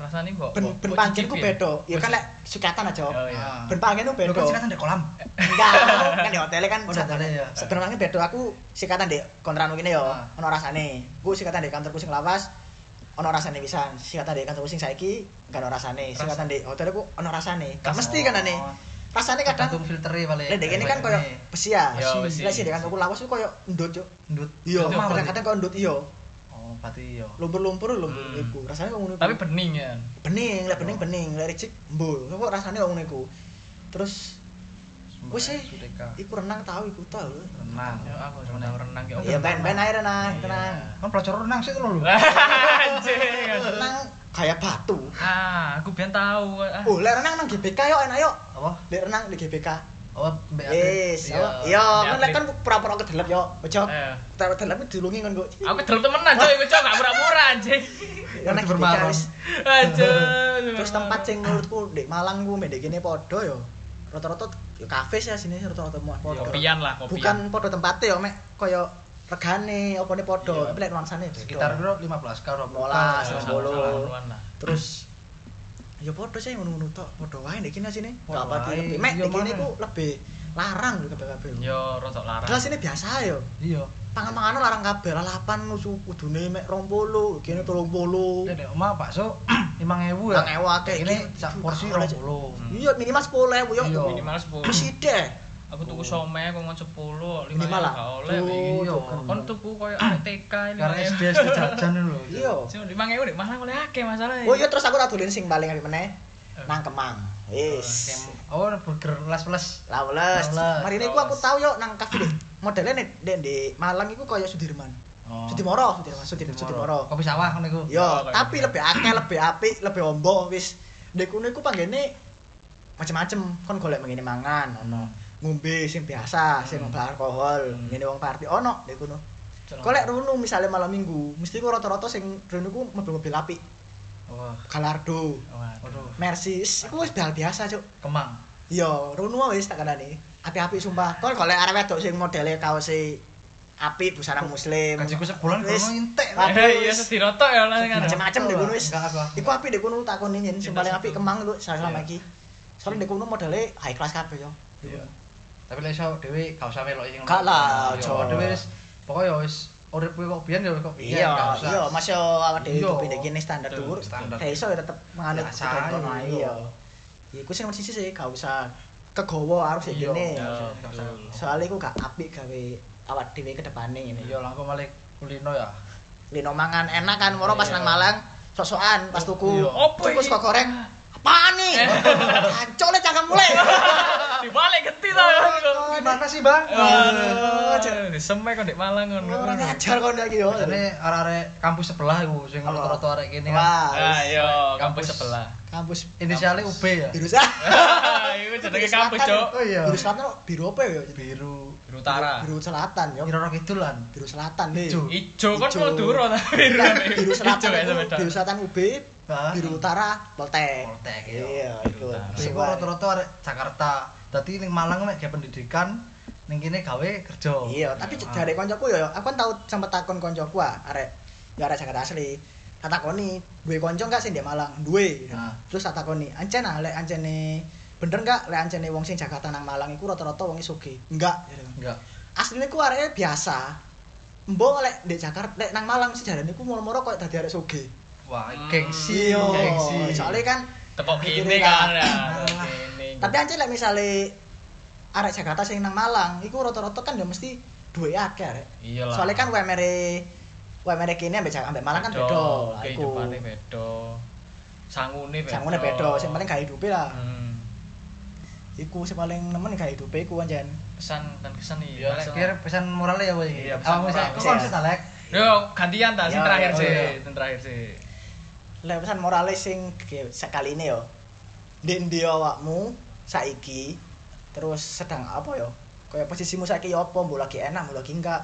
[SPEAKER 3] Rasane kok.
[SPEAKER 1] Ben ben pancen ku beda. Ya kan lek sukatan aja.
[SPEAKER 3] Oh
[SPEAKER 2] Ah.
[SPEAKER 3] iya.
[SPEAKER 1] Ben pangen ku
[SPEAKER 2] Lho kan
[SPEAKER 1] beda. Eh,
[SPEAKER 2] sikatan di kolam.
[SPEAKER 1] Enggak, kan di hotelnya kan
[SPEAKER 2] Oh, di hotelnya ya.
[SPEAKER 1] Sebenarnya beda aku sikatan di kontrakku gini yo,
[SPEAKER 2] Ah.
[SPEAKER 1] ono rasane. Ku sikatan di kantorku sing lawas, ono rasane pisan. Sikatan di kantorku sing saiki gak ono rasane.
[SPEAKER 3] Rasa-
[SPEAKER 1] Sikatan di hotelku ono rasane. Gak
[SPEAKER 3] Rasa-
[SPEAKER 1] mesti kan aneh.
[SPEAKER 2] Oh.
[SPEAKER 1] Rasane kadang
[SPEAKER 2] Tergantung filtere paling.
[SPEAKER 1] lek ini kan koyo besi ya.
[SPEAKER 3] Iya,
[SPEAKER 1] Besi.
[SPEAKER 3] besi.
[SPEAKER 1] Lek sih di kantorku lawas ku koyo ndut yo.
[SPEAKER 2] ndut.
[SPEAKER 1] Iya,
[SPEAKER 2] Ndut mah berarti.
[SPEAKER 1] kadang-kadang koyo ndut iya.
[SPEAKER 2] Oh, berarti iya.
[SPEAKER 1] Lumpur-lumpur lumpur
[SPEAKER 3] Hmm.
[SPEAKER 1] iku. Rasane kok ngono. iku.
[SPEAKER 3] Tapi bening ya.
[SPEAKER 1] bening, lek bening bening, lek ricik mbul. Kok rasane kok ngono iku. Terus Wes sih.
[SPEAKER 2] Sudeka.
[SPEAKER 1] iku renang tahu iku tau lho.
[SPEAKER 2] Renang.
[SPEAKER 3] Ya aku cuma tahu renang ya.
[SPEAKER 1] Iya, ben ben air renang,
[SPEAKER 3] Iya.
[SPEAKER 1] tenang.
[SPEAKER 2] Kan pelajar renang sih lo lho.
[SPEAKER 3] Anjing.
[SPEAKER 1] Renang kayak batu.
[SPEAKER 3] Ah, aku ben tahu. Ah.
[SPEAKER 1] Oh, lek renang nang GBK yo enak yo.
[SPEAKER 2] Apa?
[SPEAKER 1] Lek renang di GBK.
[SPEAKER 2] Oh, Mbak
[SPEAKER 3] Ya,
[SPEAKER 1] Yes, oh,
[SPEAKER 2] Iya.
[SPEAKER 1] yo. Yo,
[SPEAKER 3] Di
[SPEAKER 1] kan lek
[SPEAKER 3] atlet.
[SPEAKER 1] kan pura-pura kedelep yo. Ojo.
[SPEAKER 3] ya. Eh. Iya,
[SPEAKER 1] Pura-pura kedelep dilungi kon kok.
[SPEAKER 3] Aku delok temenan coy, iku coy gak murah-murah anjing.
[SPEAKER 1] Renang
[SPEAKER 2] Itu
[SPEAKER 1] GBK
[SPEAKER 2] bermarong.
[SPEAKER 1] wis.
[SPEAKER 3] Anjing.
[SPEAKER 1] Terus tempat sing menurutku di Malang ku mek kene padha yo. Rata-rata yo kafe sih sini rata-rata mau padha.
[SPEAKER 3] kopian lah, kopian.
[SPEAKER 1] Bukan padha tempatnya yo mek koyo regane opone padha,
[SPEAKER 3] Iya.
[SPEAKER 1] tapi lek nuansane beda.
[SPEAKER 2] Sekitar bro 15 karo
[SPEAKER 1] 15,
[SPEAKER 3] Eh,
[SPEAKER 1] 10.
[SPEAKER 3] salah-salahan lah.
[SPEAKER 1] terus ya podo sih ngono-ngono tok podo wae nek kene sini
[SPEAKER 2] Podo
[SPEAKER 1] gak pati
[SPEAKER 2] wae.
[SPEAKER 1] lebih mek
[SPEAKER 2] Iya,
[SPEAKER 1] nek kene
[SPEAKER 2] mana?
[SPEAKER 1] ku lebih larang lho kabeh-kabeh lho.
[SPEAKER 3] Yo rotok larang.
[SPEAKER 1] jelas ini biasa yo
[SPEAKER 2] Iya.
[SPEAKER 1] pangan-panganan larang kabeh lah 8 nusu kudune mek 20 kene 30
[SPEAKER 2] Dek omah bakso 5000 ya.
[SPEAKER 1] 5000 akeh.
[SPEAKER 2] eh, Ini
[SPEAKER 1] Iki
[SPEAKER 2] sak
[SPEAKER 1] juta
[SPEAKER 2] porsi
[SPEAKER 1] orang
[SPEAKER 2] 20.
[SPEAKER 1] iya minimal 10.000 yo
[SPEAKER 2] Iya.
[SPEAKER 3] minimal 10.
[SPEAKER 1] mesti deh
[SPEAKER 3] Aku tuku somai aku mau 10, 5
[SPEAKER 1] Minimal Oh. lah.
[SPEAKER 3] gak oleh.
[SPEAKER 1] Tuh.
[SPEAKER 2] Iya.
[SPEAKER 3] Kon tuku koyo
[SPEAKER 1] Ah,
[SPEAKER 3] arek TK ini. ya.
[SPEAKER 2] Karena SD SD jajan lho.
[SPEAKER 1] iya
[SPEAKER 3] Cuma 5.000 deh, malah oleh akeh masalahnya.
[SPEAKER 1] oh iya terus aku tak tulen sing paling apik meneh nang Kemang wis
[SPEAKER 2] Kem- Eh. Oh, burger les-les.
[SPEAKER 1] Lawless.
[SPEAKER 2] Lawless.
[SPEAKER 1] Mari niku aku
[SPEAKER 3] Lawless.
[SPEAKER 1] tahu yo nang kafe deh. Modelnya nih di, di Malang iku koyo Sudirman.
[SPEAKER 2] Oh.
[SPEAKER 1] Sudimoro, Sudirman, Sudirman, Sudimoro.
[SPEAKER 2] Kopi sawah ngono iku.
[SPEAKER 1] Yo,
[SPEAKER 3] Oh, kayak
[SPEAKER 1] tapi
[SPEAKER 3] gitu.
[SPEAKER 1] lebih akeh, lebih apik, lebih ombo wis. Ndek kono iku panggene macem-macem, kon golek mengene mangan, ono ngombe sing biasa, sing
[SPEAKER 3] Hmm.
[SPEAKER 1] mbak alkohol,
[SPEAKER 3] Hmm.
[SPEAKER 1] ngene wong party ono ndek kono. Golek runu misalnya malam Minggu, mesti ku rata-rata sing runu ku mobil-mobil apik,
[SPEAKER 2] Wah.
[SPEAKER 1] Galardo,
[SPEAKER 3] Waduh.
[SPEAKER 2] Waduh.
[SPEAKER 1] Mercy, wis, iku wis hal biasa, Cuk.
[SPEAKER 2] Kemang.
[SPEAKER 1] Yo, runu wae wis tak kandhani. Apik-apik sumpah. Kon golek arek wedok sing modele kaos e apik, busana muslim.
[SPEAKER 2] Gajiku sebulan
[SPEAKER 1] Wis.
[SPEAKER 2] kurang entek.
[SPEAKER 1] Waduh,
[SPEAKER 3] Eh, Iya,
[SPEAKER 1] wis.
[SPEAKER 3] sedih rotok ya lah kan.
[SPEAKER 1] macam-macam deh kono wis.
[SPEAKER 2] Iya. Enggak, aku, aku.
[SPEAKER 1] Iku apik deh kono tak kono nyen sing
[SPEAKER 3] Cinta
[SPEAKER 1] paling
[SPEAKER 3] satu.
[SPEAKER 1] apik Kemang lu salah
[SPEAKER 3] Iya.
[SPEAKER 1] lagi. Soalnya deh kono modele high class kabeh yo. Di
[SPEAKER 2] Iya.
[SPEAKER 1] kono.
[SPEAKER 2] Tapi lek iso dhewe gak usah melok sing ngono.
[SPEAKER 1] Gak lah,
[SPEAKER 2] Iya,
[SPEAKER 1] Jo.
[SPEAKER 2] Dhewe wis pokoke ya wis urip kuwi kok biyen ya kok biyen.
[SPEAKER 1] Iya,
[SPEAKER 2] gak usah.
[SPEAKER 1] iya, mas yo awak dhewe
[SPEAKER 2] Iya.
[SPEAKER 1] kopi deh kene standar
[SPEAKER 3] Betul,
[SPEAKER 1] dhuwur.
[SPEAKER 2] standar.
[SPEAKER 1] Kayak iso ya tetep manganut
[SPEAKER 2] Biasa,
[SPEAKER 1] kebutuhan kono ae
[SPEAKER 2] iya.
[SPEAKER 1] yo. Ya Iku sing nomor siji sih gak usah kegowo arep sik
[SPEAKER 2] Iya,
[SPEAKER 1] kene.
[SPEAKER 2] iya,
[SPEAKER 3] Betul.
[SPEAKER 2] gak usah.
[SPEAKER 1] Soalnya iku gak apik gawe awak dhewe ke depane ngene.
[SPEAKER 2] Iya, langko malah kulino ya.
[SPEAKER 1] Lino mangan enak kan, moro pas
[SPEAKER 2] Iya.
[SPEAKER 1] nang Malang, sosokan pas tuku,
[SPEAKER 2] Iya.
[SPEAKER 3] Apa
[SPEAKER 1] tuku
[SPEAKER 3] ini?
[SPEAKER 1] sego goreng, apaan nih?
[SPEAKER 3] Eh.
[SPEAKER 1] Kacau lah cangkem mulai.
[SPEAKER 3] Dibalik genti
[SPEAKER 1] Oh,
[SPEAKER 3] ta.
[SPEAKER 1] iya.
[SPEAKER 2] Gimana sih, Bang?
[SPEAKER 3] kan,
[SPEAKER 2] Iya.
[SPEAKER 3] Aduh, disemai kok Dek Malang kan. ngono.
[SPEAKER 1] Orang ngajar kau lagi yo.
[SPEAKER 2] Ini arek-arek kampus sebelah iku sing
[SPEAKER 1] Apa?
[SPEAKER 2] rata-rata arek kene kan.
[SPEAKER 1] Wah,
[SPEAKER 3] Ayo,
[SPEAKER 2] Kampus.
[SPEAKER 3] Ah, iya, kampus sebelah.
[SPEAKER 1] kampus
[SPEAKER 2] Inisialnya UB ya.
[SPEAKER 1] biru sah.
[SPEAKER 3] Iku jenenge Iya, kampus, Cok.
[SPEAKER 2] Oh iya.
[SPEAKER 1] Biru selatan kok biru apa ya?
[SPEAKER 2] Biru. gitu
[SPEAKER 3] Biru utara.
[SPEAKER 1] Biru selatan yo.
[SPEAKER 2] Nyiroro kidulan.
[SPEAKER 1] Biru selatan nih.
[SPEAKER 2] Ijo.
[SPEAKER 3] Iya. Ijo kan
[SPEAKER 1] Ijo.
[SPEAKER 3] mau duro ta biru.
[SPEAKER 1] Nah, biru
[SPEAKER 3] Ijo
[SPEAKER 1] selatan
[SPEAKER 3] ya,
[SPEAKER 1] itu,
[SPEAKER 3] beda.
[SPEAKER 1] biru selatan UB,
[SPEAKER 2] Hah?
[SPEAKER 1] biru utara Poltek.
[SPEAKER 2] Poltek, iya.
[SPEAKER 1] Iya, itu.
[SPEAKER 3] Biru utara.
[SPEAKER 2] Terus iku rata-rata arek Jakarta. Dadi ning Malang mek gawe pendidikan ning kene gawe kerja
[SPEAKER 1] Iya, tapi
[SPEAKER 2] Ah.
[SPEAKER 1] dari koncoku ya, aku kan tau sempat takon koncoku ah, arek ya arek Jakarta asli. Tak takoni, duwe konco enggak sih di Malang? Duwe.
[SPEAKER 2] Ah.
[SPEAKER 1] Terus tak takoni, ancen ah lek ancene bener enggak lek ancene wong sing Jakarta nang Malang iku rata-rata wong sugih. Enggak. Gitu.
[SPEAKER 2] enggak
[SPEAKER 1] Asline ku areke biasa. Mbok lek di Jakarta lek nang Malang sih jarane ku moro-moro koyo dadi arek sugih.
[SPEAKER 2] wah
[SPEAKER 3] Hmm.
[SPEAKER 2] gengsi gengsi
[SPEAKER 1] Soale Iya. kan
[SPEAKER 3] Tekok
[SPEAKER 1] Akhirnya
[SPEAKER 3] kene kan. ya.
[SPEAKER 2] Alah.
[SPEAKER 3] Tekok kene.
[SPEAKER 1] tapi kan ancen lek misale arek Jakarta sing nang Malang iku rata-rata kan ya mesti duwe akeh arek.
[SPEAKER 3] Iyalah.
[SPEAKER 1] Soalnya kan WMR WMR kene ambek ambek Malang kan beda. Lah, iku.
[SPEAKER 3] Kehidupane beda. Sangune beda.
[SPEAKER 1] Sangune beda, sing paling gak hidupe lah.
[SPEAKER 3] Hmm.
[SPEAKER 1] Iku sing paling nemen gak hidupe iku anjen.
[SPEAKER 3] Pesan dan kesan nih.
[SPEAKER 2] ya lek kira pesan moralnya ya boy
[SPEAKER 3] Iya, pesan
[SPEAKER 2] apa misal
[SPEAKER 3] moral.
[SPEAKER 2] kok kon sih talek
[SPEAKER 3] Yo, gantian ta sing
[SPEAKER 1] Yo,
[SPEAKER 3] terakhir
[SPEAKER 1] yo,
[SPEAKER 3] sih,
[SPEAKER 2] yo.
[SPEAKER 3] sing terakhir sih.
[SPEAKER 1] Lah pesan morale sing ge- sekali ini yo. Ndek ndi awakmu saiki terus sedang apa yo? Kaya posisimu saiki yo apa, mbok lagi enak, mbok lagi enggak.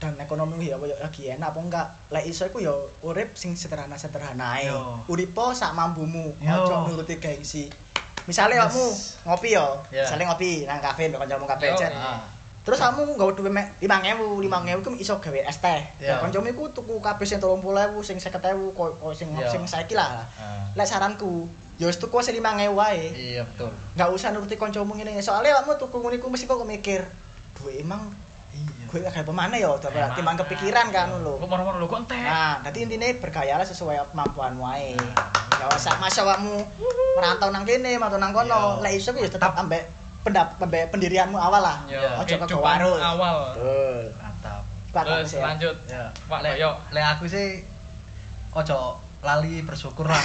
[SPEAKER 1] Dan ekonomi yo yo lagi enak apa enggak? Lek iso iku yo urip sing sederhana-sederhana ae.
[SPEAKER 2] Yo.
[SPEAKER 1] Uripo sak mambumu,
[SPEAKER 2] Yo.
[SPEAKER 1] ojo nuruti gengsi. Misalnya kamu
[SPEAKER 2] Yes.
[SPEAKER 1] ngopi yo,
[SPEAKER 2] Ya.
[SPEAKER 1] misalnya ngopi nang kafe, mbek kancamu kafe
[SPEAKER 3] Yo,
[SPEAKER 1] aja.
[SPEAKER 3] ah.
[SPEAKER 1] Terus kamu nggak duwe me- 5000, 5000 ku iso gawe es teh. Nah,
[SPEAKER 2] Iya.
[SPEAKER 1] kancamu iku tuku kabeh sing 30.000, sing 50.000, koyo koyo sing
[SPEAKER 2] Iya.
[SPEAKER 1] sing saiki lah.
[SPEAKER 2] Ah.
[SPEAKER 1] Lek saranku, ya wis tuku sing 5000 wae.
[SPEAKER 2] iya betul
[SPEAKER 1] Enggak usah nuruti kancamu ngene. Soalnya kamu tuku ngene iku mesti kok mikir, duwe emang
[SPEAKER 2] iya
[SPEAKER 1] gue gak pemana ya, udah berarti
[SPEAKER 3] Emang,
[SPEAKER 1] mang kepikiran kan
[SPEAKER 3] yo.
[SPEAKER 1] lho.
[SPEAKER 3] Kok moro-moro lho kok entek.
[SPEAKER 1] Nah, nanti intinya bergayalah sesuai kemampuanmu wae.
[SPEAKER 2] Iya.
[SPEAKER 1] Gak usah masa kamu merantau nang kene, merantau nang kono.
[SPEAKER 2] Iya.
[SPEAKER 1] Lek iso ya tetap ambek pendap ambek pendirianmu awal lah.
[SPEAKER 3] Yo,
[SPEAKER 2] Iya.
[SPEAKER 1] Ojo
[SPEAKER 3] kehidupan
[SPEAKER 1] kegawarus.
[SPEAKER 3] awal.
[SPEAKER 1] Betul.
[SPEAKER 2] mantap
[SPEAKER 1] Kuat
[SPEAKER 3] Terus
[SPEAKER 1] Mas, ya.
[SPEAKER 3] lanjut.
[SPEAKER 2] ya
[SPEAKER 3] Pak,
[SPEAKER 2] lek
[SPEAKER 3] yo.
[SPEAKER 2] lek aku sih ojo lali bersyukur lah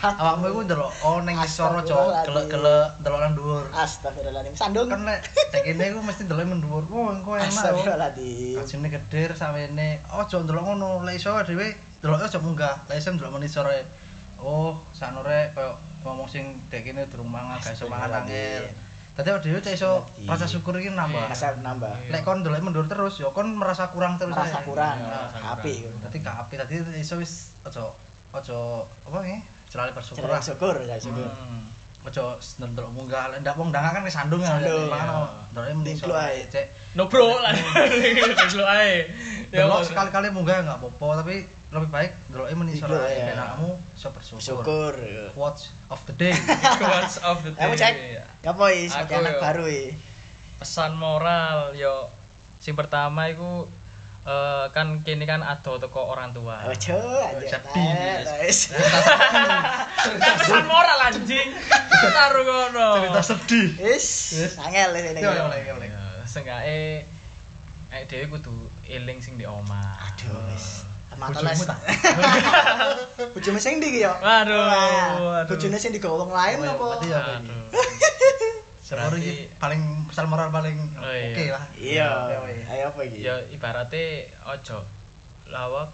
[SPEAKER 2] awakmu iku ndelok oh ning isor ojo
[SPEAKER 1] Astagfirullahaladzim.
[SPEAKER 2] gelek-gelek ndelok nang dhuwur
[SPEAKER 1] Astagfirullahaladzim. Sandung.
[SPEAKER 2] kan lek cek ini aku mesti ndelok mendur wah engko enak
[SPEAKER 1] Astagfirullahaladzim.
[SPEAKER 2] kajine gede samene ojo "Oh, ndelok ngono lek iso dhewe ndelok ojo munggah lek iso ndelok meni sore oh sanore koyo ngomong sing dek kene durung mangan gak iso mangan
[SPEAKER 1] Astagfirullahaladzim.
[SPEAKER 2] angel dadi awake dhewe cek iso
[SPEAKER 1] Astagfirullahaladzim.
[SPEAKER 2] rasa syukur iki nambah
[SPEAKER 1] Masa nambah.
[SPEAKER 3] Iya.
[SPEAKER 2] lek kon ndelok mendur terus yo kon merasa kurang terus
[SPEAKER 1] Merasa
[SPEAKER 2] ae.
[SPEAKER 1] kurang.
[SPEAKER 3] Iya, merasa
[SPEAKER 1] Api.
[SPEAKER 3] kurang.
[SPEAKER 2] Tadi gak apik tadi iso wis ojo ojo apa nggih? Celali bersyukur
[SPEAKER 1] Syukur, syukur, ya,
[SPEAKER 2] lah.
[SPEAKER 1] syukur.
[SPEAKER 3] Hmm.
[SPEAKER 2] Ojo ndelok munggah, lek ndak wong ndang kan kesandung ya.
[SPEAKER 1] Sandung.
[SPEAKER 2] Mana ndore mending
[SPEAKER 1] Tingklu ae.
[SPEAKER 2] cek.
[SPEAKER 3] Nobro lah. eh. Nobro ae. Ya,
[SPEAKER 2] Delok
[SPEAKER 3] Mas.
[SPEAKER 2] sekali-kali munggah nggak apa-apa, tapi lebih baik ndeloke meni sore
[SPEAKER 1] Tingklu, ya.
[SPEAKER 2] ae ben awakmu iso bersyukur.
[SPEAKER 1] Syukur.
[SPEAKER 2] Watch of the day.
[SPEAKER 3] Quotes of the
[SPEAKER 1] Kamu
[SPEAKER 3] day.
[SPEAKER 1] cek. Ya boy, sebagai
[SPEAKER 3] Aku,
[SPEAKER 1] anak
[SPEAKER 3] yo.
[SPEAKER 1] baru ya.
[SPEAKER 3] pesan moral yo sing pertama iku eh, kan kini kan ado teko orang tua
[SPEAKER 1] Ojo aja. Eh,
[SPEAKER 2] Sedih,
[SPEAKER 1] Nah, nice.
[SPEAKER 3] Kan pesan moral anjing taruh ngono
[SPEAKER 2] Cerita sedih.
[SPEAKER 1] Is,
[SPEAKER 2] Yes.
[SPEAKER 1] angel ya, ini.
[SPEAKER 2] Yo yo lek yo lek.
[SPEAKER 3] Ya, seenggaknya eh e, dhewe kudu eling sing di omah
[SPEAKER 1] Aduh, wis. Mata les.
[SPEAKER 2] Bojomu tak?
[SPEAKER 1] Bojone sing ndi ki yo?
[SPEAKER 3] Waduh,
[SPEAKER 1] Wah,
[SPEAKER 3] waduh.
[SPEAKER 1] Bojone sing digawa wong lain
[SPEAKER 2] Oh, iya,
[SPEAKER 1] apa?
[SPEAKER 2] berarti ya.
[SPEAKER 3] Aduh.
[SPEAKER 2] Syukur
[SPEAKER 3] Berarti-
[SPEAKER 2] iki paling pesan moral paling
[SPEAKER 3] Oh, iya.
[SPEAKER 2] oke lah.
[SPEAKER 1] Iya.
[SPEAKER 2] Oke, oke.
[SPEAKER 1] Ayo apa iki?
[SPEAKER 3] ya ibaratnya ojo lawak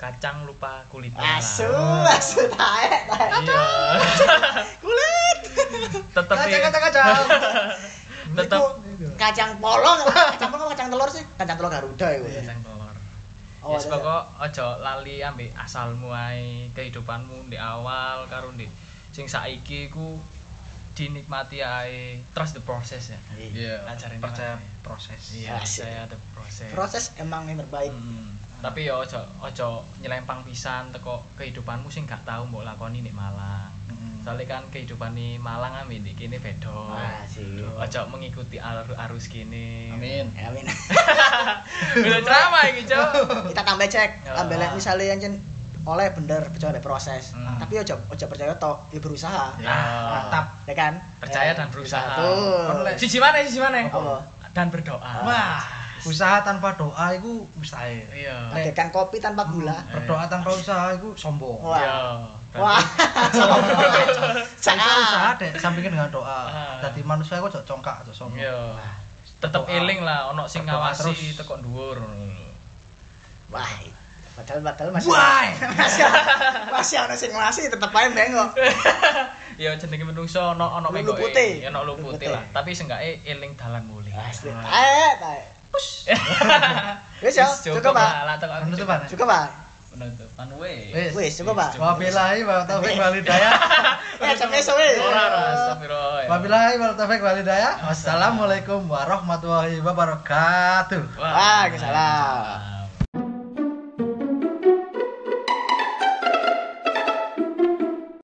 [SPEAKER 3] kacang lupa kulitnya lah.
[SPEAKER 1] Asu, asu tae, tae.
[SPEAKER 3] iya
[SPEAKER 1] Kulit.
[SPEAKER 3] tetep e,
[SPEAKER 2] Kacang kacang kacang.
[SPEAKER 3] tetep
[SPEAKER 1] Kacang polong, kacang polong apa kacang telur sih? Kacang telur Garuda iku.
[SPEAKER 3] kacang telur
[SPEAKER 1] Iya. Oh,
[SPEAKER 3] Iya, Yes,
[SPEAKER 1] ada.
[SPEAKER 3] pokok ojo lali ambek asalmu ae, kehidupanmu di awal karo di sing saiki ku dinikmati ae. Trust the process ya.
[SPEAKER 1] Iya.
[SPEAKER 3] Ajarin
[SPEAKER 2] percaya
[SPEAKER 3] gimana ya?
[SPEAKER 2] proses.
[SPEAKER 3] Iya,
[SPEAKER 1] Asik.
[SPEAKER 3] saya the process.
[SPEAKER 1] Proses emang yang terbaik.
[SPEAKER 3] Hmm. Tapi ya ojo ojo nyelempang pisan teko kehidupanmu sing gak tau mbok lakoni nek Malang.
[SPEAKER 2] Mm-mm.
[SPEAKER 3] Soalnya kan kehidupan di Malang ambek di kene beda.
[SPEAKER 1] Asik.
[SPEAKER 3] Ojo mengikuti arus arus kene.
[SPEAKER 2] Amin.
[SPEAKER 1] Amin.
[SPEAKER 3] Bila ceramah iki, Cok.
[SPEAKER 1] Kita tambah cek,
[SPEAKER 3] Ya.
[SPEAKER 1] tambah lek misale yang jen- oleh bener percaya oleh proses.
[SPEAKER 3] Hmm. Iya.
[SPEAKER 1] Tapi ojo ojo percaya tok, ya berusaha.
[SPEAKER 2] Ya.
[SPEAKER 1] Mantap, ya kan?
[SPEAKER 3] Percaya
[SPEAKER 1] Ya,
[SPEAKER 3] dan berusaha.
[SPEAKER 1] Betul.
[SPEAKER 2] Oleh.
[SPEAKER 3] Siji mana? Siji mana?
[SPEAKER 1] Apa?
[SPEAKER 3] Dan berdoa.
[SPEAKER 2] Wah, usaha tanpa doa itu mustahil.
[SPEAKER 3] Iya.
[SPEAKER 1] Bagaikan kopi tanpa gula.
[SPEAKER 2] Berdoa tanpa usaha itu sombong.
[SPEAKER 1] Wah.
[SPEAKER 3] Iya.
[SPEAKER 1] Wah.
[SPEAKER 2] Tanpa usaha
[SPEAKER 1] Sangat.
[SPEAKER 2] deh, sampingkan dengan doa.
[SPEAKER 3] Ah.
[SPEAKER 2] Tadi manusia itu congkak atau sombong.
[SPEAKER 3] Iya. Tetep
[SPEAKER 2] Berdoa.
[SPEAKER 3] eling lah ono sing
[SPEAKER 2] Berdoa
[SPEAKER 3] ngawasi
[SPEAKER 2] terus.
[SPEAKER 3] teko dhuwur.
[SPEAKER 1] Wah. Padahal padahal masih.
[SPEAKER 2] Why?
[SPEAKER 1] Masih masih ana sing ngelasi tetep ae bengok.
[SPEAKER 3] Ya jenenge menungso ono ono
[SPEAKER 1] Lulu
[SPEAKER 3] menggoke.
[SPEAKER 1] putih.
[SPEAKER 3] Ya ono
[SPEAKER 1] Lulu
[SPEAKER 3] lupute
[SPEAKER 1] putih.
[SPEAKER 3] lah, tapi seenggake eling dalan mulih.
[SPEAKER 1] Asli. Tae, tae. Wis ya, cukup, Pak.
[SPEAKER 3] Lah teko
[SPEAKER 2] Penutupan.
[SPEAKER 1] Cukup, Pak.
[SPEAKER 3] penutupan weh.
[SPEAKER 2] Wes.
[SPEAKER 1] Wes, coba, Pak.
[SPEAKER 2] Wabillahi wa taufik wal hidayah.
[SPEAKER 1] Eh, sampai sore.
[SPEAKER 3] Ora ora astagfirullah.
[SPEAKER 2] Wabillahi wa taufik wal hidayah. Wassalamualaikum warahmatullahi wabarakatuh.
[SPEAKER 1] Wah, salam.